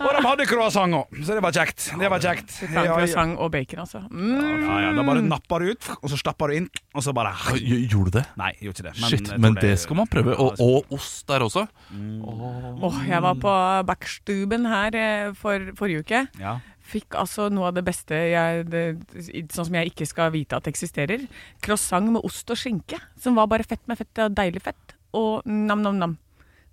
S2: Og de hadde croissant òg, så det var kjekt. Det var kjekt.
S3: Sang,
S2: Ja, ja.
S3: sang og bacon, altså. Mm.
S2: Ja, ja, da bare napper du ut, og så stapper du inn, og så bare
S4: Oi, Gjorde du det?
S2: Nei, jeg gjorde ikke det.
S4: Shit,
S2: jeg tror
S4: men det skal man prøve. Og,
S2: Ja,
S4: og ost der også.
S3: Åh, jeg var på backstuben her eh, for, forrige uke.
S2: ja.
S3: Fikk altså noe av det beste jeg, det, Sånn som jeg ikke skal vite at eksisterer. Croissant med ost og skinke. Som var bare fett med fett og deilig fett. Og nam-nam-nam.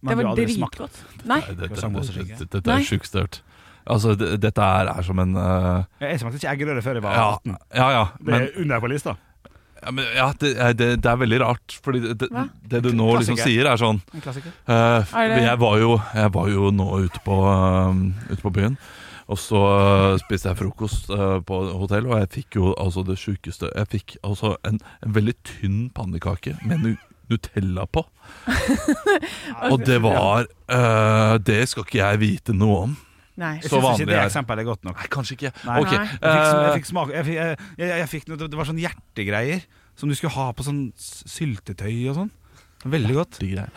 S2: Men
S3: Det
S2: du
S3: var
S2: har aldri smakt
S3: dritgodt. Nei.
S4: Dette,
S2: Hva sa man også
S4: dette,
S2: fikk?
S4: dette, er
S3: Nei.
S4: sjukt størt. Altså, det- dette er, er som en eh,
S2: Jeg smakte ikke eggerøre før jeg var
S4: Ja,
S2: 18.
S4: ja. ja
S2: Det
S4: men
S2: er under på lista.
S4: ja, men, ja det, er- det, det er veldig rart, Fordi det, det,
S3: Hva?
S4: det du nå liksom
S2: Klassiker.
S4: sier, er sånn
S2: En klassiker.
S4: eh,
S3: Er det-
S4: jeg, var jo, jeg var jo nå ute på, eh, ute på byen. Og så eh, spiste jeg frokost eh, på hotell, og jeg fikk jo altså det sjukeste Jeg fikk altså en, en veldig tynn pannekake med nu Nutella på. og det var eh, Det skal ikke jeg vite noe om.
S3: Nei.
S2: Jeg
S4: Så
S2: syns
S4: vanlig
S2: ikke det
S4: er-
S2: eksempelet er godt nok.
S4: Nei, kanskje ikke.
S2: Nei.
S4: Ok,
S3: Nei.
S2: Jeg fikk, jeg
S4: eh,
S2: fikk smak jeg fikk, jeg, jeg, jeg fikk noe, Det var sånn hjertegreier som du skulle ha på sånn s- syltetøy og sånn. Veldig godt.
S4: de greier.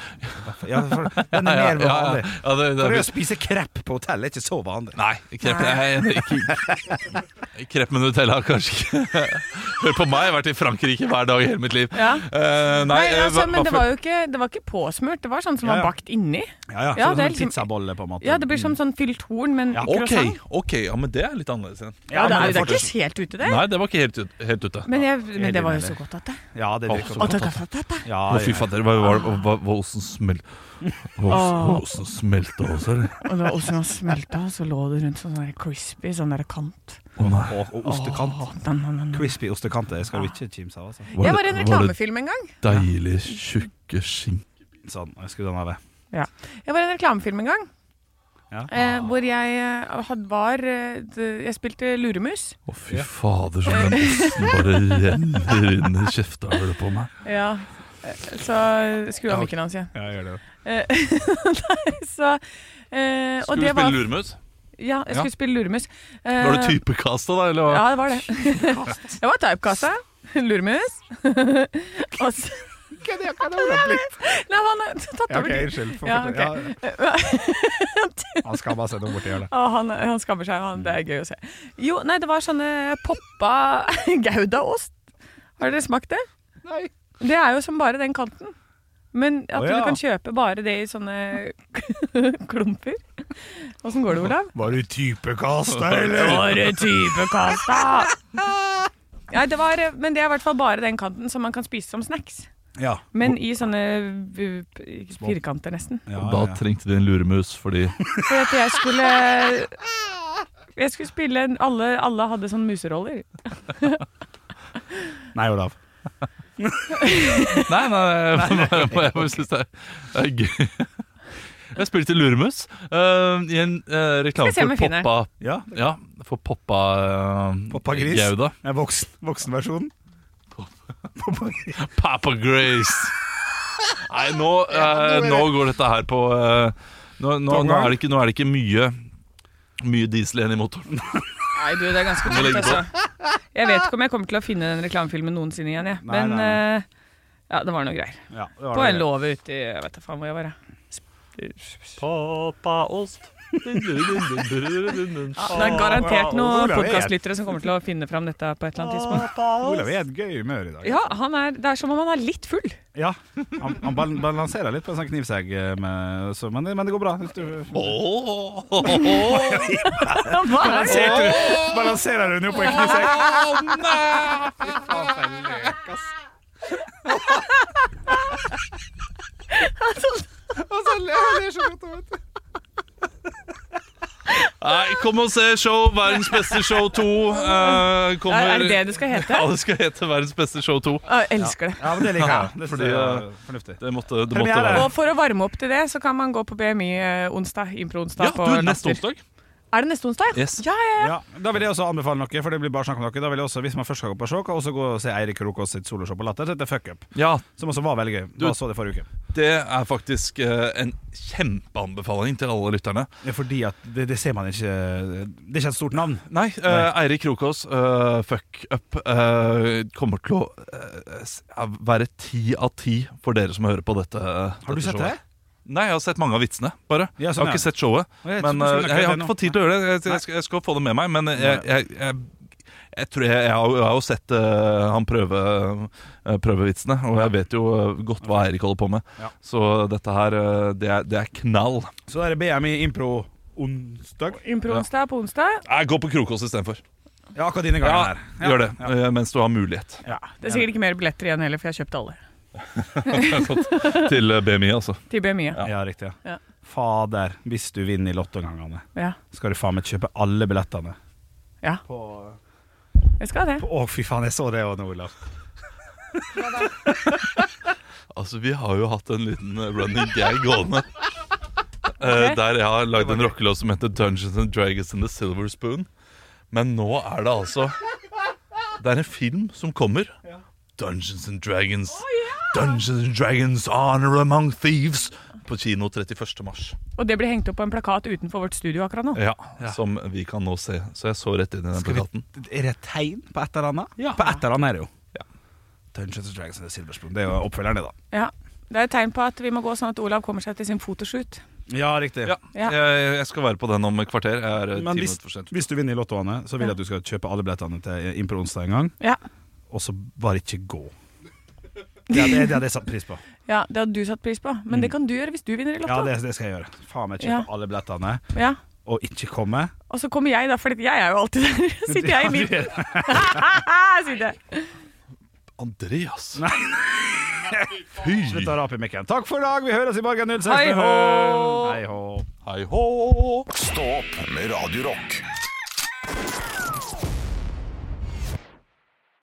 S2: Ja, for, den er mer
S4: ja,
S2: vanlig.
S4: ja, ja, det, det,
S2: For det å spise krepp på hotell er ikke så vanlig.
S4: Nei, krepp, nei, ikke, krepp med Nutella, kanskje ikke. Hør på meg, jeg har vært i Frankrike hver dag i hele mitt liv.
S3: Ja.
S4: Eh, nei,
S3: Nei,
S4: eh,
S3: altså,
S4: hva-
S3: men det
S4: hva for-
S3: var jo ikke, det var ikke påsmurt. Det var sånn som
S2: Ja,
S3: var
S2: ja.
S3: bakt inni.
S2: Ja, ja,
S3: Ja,
S2: så det er
S3: det er
S2: sånn
S3: liksom-
S2: pizzabolle, på en måte.
S3: Ja, det blir som sånn fylt horn, men
S2: Ja,
S4: Ok,
S3: croissant.
S4: ok, ja, men det er litt annerledes igjen.
S2: men
S3: Ja, det er,
S2: det
S3: det er
S2: fortsatt-
S3: ikke helt ute, det.
S4: Nei, det var ikke helt, ut- helt ute.
S3: Men, jeg, men det var jo
S2: enig
S3: så
S2: med
S3: godt at det.
S2: Ja, det blir
S4: Å, så
S2: godt.
S3: At det, at det, at det.
S2: Ja,
S4: Å, fy
S2: ja.
S4: fader, hva var det? Hva, hva, åssen smel- hva- Åssen smelta det også, eller?
S3: Og det var osten som smelta, så lå det rundt sånn der crispy, sånn der kant.
S4: Å nei.
S2: Og, og ostekant.
S3: Åh, den, den, den.
S2: Crispy ostekant det skal du ikke kimse av. Altså.
S3: Jeg
S4: Var det-
S3: var i en
S4: var det
S3: reklamefilm en gang.
S4: Deilig, tjukke skink...
S2: Sånn, jeg skrur den av. jeg.
S3: Ja. Jeg var i en reklamefilm en gang
S2: Ja.
S3: eh, hvor jeg eh, had, var eh, d- Jeg spilte luremus.
S4: Å, fy fader, som den osten bare renner inn i kjeftehullet på meg.
S3: Ja. eh, Så skru av mikken hans igjen.
S2: Ja, jeg gjør det.
S3: Så, eh, og det var
S4: lurmus?
S3: Ja, jeg skulle spille luremus. Eh,
S4: Var det typekasta, da? Eller? hva?
S3: Ja, det var det. det var typekassa. Luremus. og så Nei, han har tatt over tid.
S2: unnskyld.
S3: Ja, ok.
S2: Han skamma seg nå borti hjørnet.
S3: Å, han, han skammer seg. Han, det er gøy å se. Jo, nei, det var sånne poppa goudaost. Har dere smakt det?
S2: Nei.
S3: Det er jo som bare den kanten. Men at
S2: Å, ja.
S3: du kan kjøpe bare det i sånne klumper. Åssen går det, Olav?
S2: Var du typekast,
S3: Bare typekasta! Nei, det var, men det er i hvert fall bare den kanten som man kan spise som snacks.
S2: Ja.
S3: Men i sånne v- p- firkanter, nesten.
S2: Ja,
S4: Og da
S2: ja.
S4: trengte de en luremus, fordi
S3: For at jeg skulle Jeg skulle spille en- Alle, alle hadde sånne museroller.
S2: Nei, Olav.
S4: Nei, nei, nei, jeg bare synes det er- det er gøy. Jeg spilte luremus eh, i en eh, reklame
S3: Skal vi se om
S4: for
S3: jeg finner.
S4: Poppa.
S2: Ja.
S4: Ja, for Poppa eh,
S2: Poppa Gris.
S4: Gouda.
S2: Jeg er voksen, voksenversjonen.
S4: Papa Grace. Nei, nå, eh, nå går dette her på eh, nå, nå, nå, er det ikke, nå er det ikke mye mye diesel igjen i motoren.
S3: Nei, du, det er ganske
S4: Må
S3: tøft,
S4: legge på.
S3: altså. Jeg vet ikke om jeg kommer til å finne den reklamefilmen noensinne igjen, jeg.
S2: Nei,
S3: Men
S2: nei,
S3: eh, ja, det var noe greier.
S2: Ja, det var
S3: På
S2: det.
S3: en låve ute i Jeg vet da faen hvor jeg var. jeg.
S4: Pappaost.
S3: Ja, det er garantert
S2: Olav,
S3: noen
S2: jeg-
S3: podkastlyttere som kommer til å finne fram dette på et eller annet tidspunkt.
S2: Olav er i et gøy humør i dag.
S3: Ja, han er, Det er som om han er litt full.
S2: Ja. Han, han bal balanserer litt på en sånn knivsegg, eh, med, så, men, det, men det går bra. Hvis du-
S3: Hva er det?
S2: Balanserer du- Balanserer hun jo på en knivsegg?
S4: Nei, kom og se show, verdens beste show 2. eh, kommer,
S3: Er- er det det det skal hete?
S4: Ja, det skal hete verdens beste show 2.
S3: Å, Jeg elsker det.
S2: Ja, men det liker jeg. Det synes
S4: Fordi,
S2: jeg er
S4: eh,
S2: fornuftig.
S4: Det måtte, det måtte
S2: Premiere.
S4: være.
S3: Og for å varme opp til det, så kan man gå på BMI eh, onsdag. Impro-onsdag.
S4: Ja,
S3: på
S4: du, neste
S3: Latter.
S4: onsdag.
S3: Er det neste onsdag? ja?
S4: Yes.
S3: Ja, ja, ja.
S2: Ja, da vil jeg også anbefale noe, for det blir bare snakk om noe. Da vil jeg også, Hvis man først skal gå på show, kan jeg også gå og se Eirik Rokås sitt soloshow på Latter. Det heter Fuck Up,
S4: Ja,
S2: som også var veldig gøy.
S4: Du-
S2: Bare så det forrige uke.
S4: det er faktisk eh, en kjempeanbefaling til alle lytterne.
S2: Ja, fordi at det, det ser man ikke Det er ikke et stort navn.
S4: Nei, eh, Eirik Krokås, eh, fuck up, eh, kommer til å eh, s- være ti av ti for dere som hører på dette.
S2: Har du sett det?
S4: Nei, jeg har sett mange av vitsene, bare.
S2: Ja, sånn,
S4: jeg har
S2: ja.
S4: ikke sett showet.
S2: Og jeg tror
S4: Men
S2: du
S4: eh,
S2: skulle
S4: jeg,
S2: lagt det
S4: har
S2: nå.
S4: ikke fått tid til å gjøre det. Jeg, jeg, skal, jeg skal få det med meg, men eh, jeg, jeg, jeg, jeg tror jeg, jeg, har, jeg har jo sett eh, han prøve, eh, prøvevitsene, og jeg vet jo eh, godt hva Eirik holder på med.
S2: Ja.
S4: Så dette her, eh, det er, det er knall.
S2: Så er det BMI Impro onsdag.
S3: Impro-onsdag på onsdag.
S4: Nei, gå på Krokås istedenfor.
S2: Ja, akkurat dine
S4: Ja,
S2: ganger her.
S4: gjør det, eh, mens du har mulighet
S2: Ja.
S3: Det er sikkert ikke mer billetter igjen heller, for jeg har kjøpt alle.
S4: til eh, BMI, altså.
S3: Til BMI. Ja.
S2: Ja, riktig.
S3: Ja.
S2: Ja. Fader, hvis du vinner i lottogangene,
S3: Ja.
S2: skal du faen meg kjøpe alle billettene.
S3: ja. Jeg skal det.
S2: Å, fy faen, jeg så det òg nå, Olav.
S4: Altså, vi har jo hatt en liten eh, running gag gående. Eh, der jeg har lagd en rockelåt som heter Dungeons and Dragons and the Silver Spoon. Men nå er det altså Det er en film som kommer. Dungeons and Dragons. Dungeons and Dragons Honor Among Thieves. På kino 31. mars.
S3: Og det blir hengt opp på en plakat utenfor vårt studio akkurat nå.
S4: Ja, Som vi kan nå se. Så jeg så rett inn i den plakaten.
S2: Er det et tegn på et eller annet?
S4: Ja.
S2: På et eller annet er det jo.
S4: Ja.
S2: Dungeons and Dragons and the Silver Spoon. Det er jo oppfølgeren, det, da.
S3: Ja. Det er et tegn på at vi må gå sånn at Olav kommer seg til sin fotoshoot.
S2: Ja, riktig.
S4: Ja,
S3: Ja.
S4: Jeg, jeg skal være på den om et kvarter. Jeg er eh, ti
S2: Men hvis,
S4: minutter for sent.
S2: hvis du vinner i Lotto, Anne, så vil jeg at du skal kjøpe alle billettene til Impro onsdag en gang,
S3: Ja.
S2: og så bare ikke gå. Ja, det, det hadde jeg satt pris på.
S3: ja, Det hadde du satt pris på, men det kan du gjøre hvis du vinner i
S2: Ja,
S3: Lotto.
S2: det, det skal jeg gjøre. Faen meg kjøpe
S3: Ja.
S2: alle billettene,
S3: Ja.
S2: og ikke komme.
S3: Og så kommer jeg, da, for jeg er jo alltid der. Sitter jeg i midten. Sitter jeg.
S4: Andreas!
S2: Nei.
S4: Fy!
S2: Slutt å rape i mikken. Takk for i dag, vi høres i morgen 06.
S3: Hei hå!
S2: Hei hå.
S4: Hei hå!
S1: Stå opp med Radio Rock.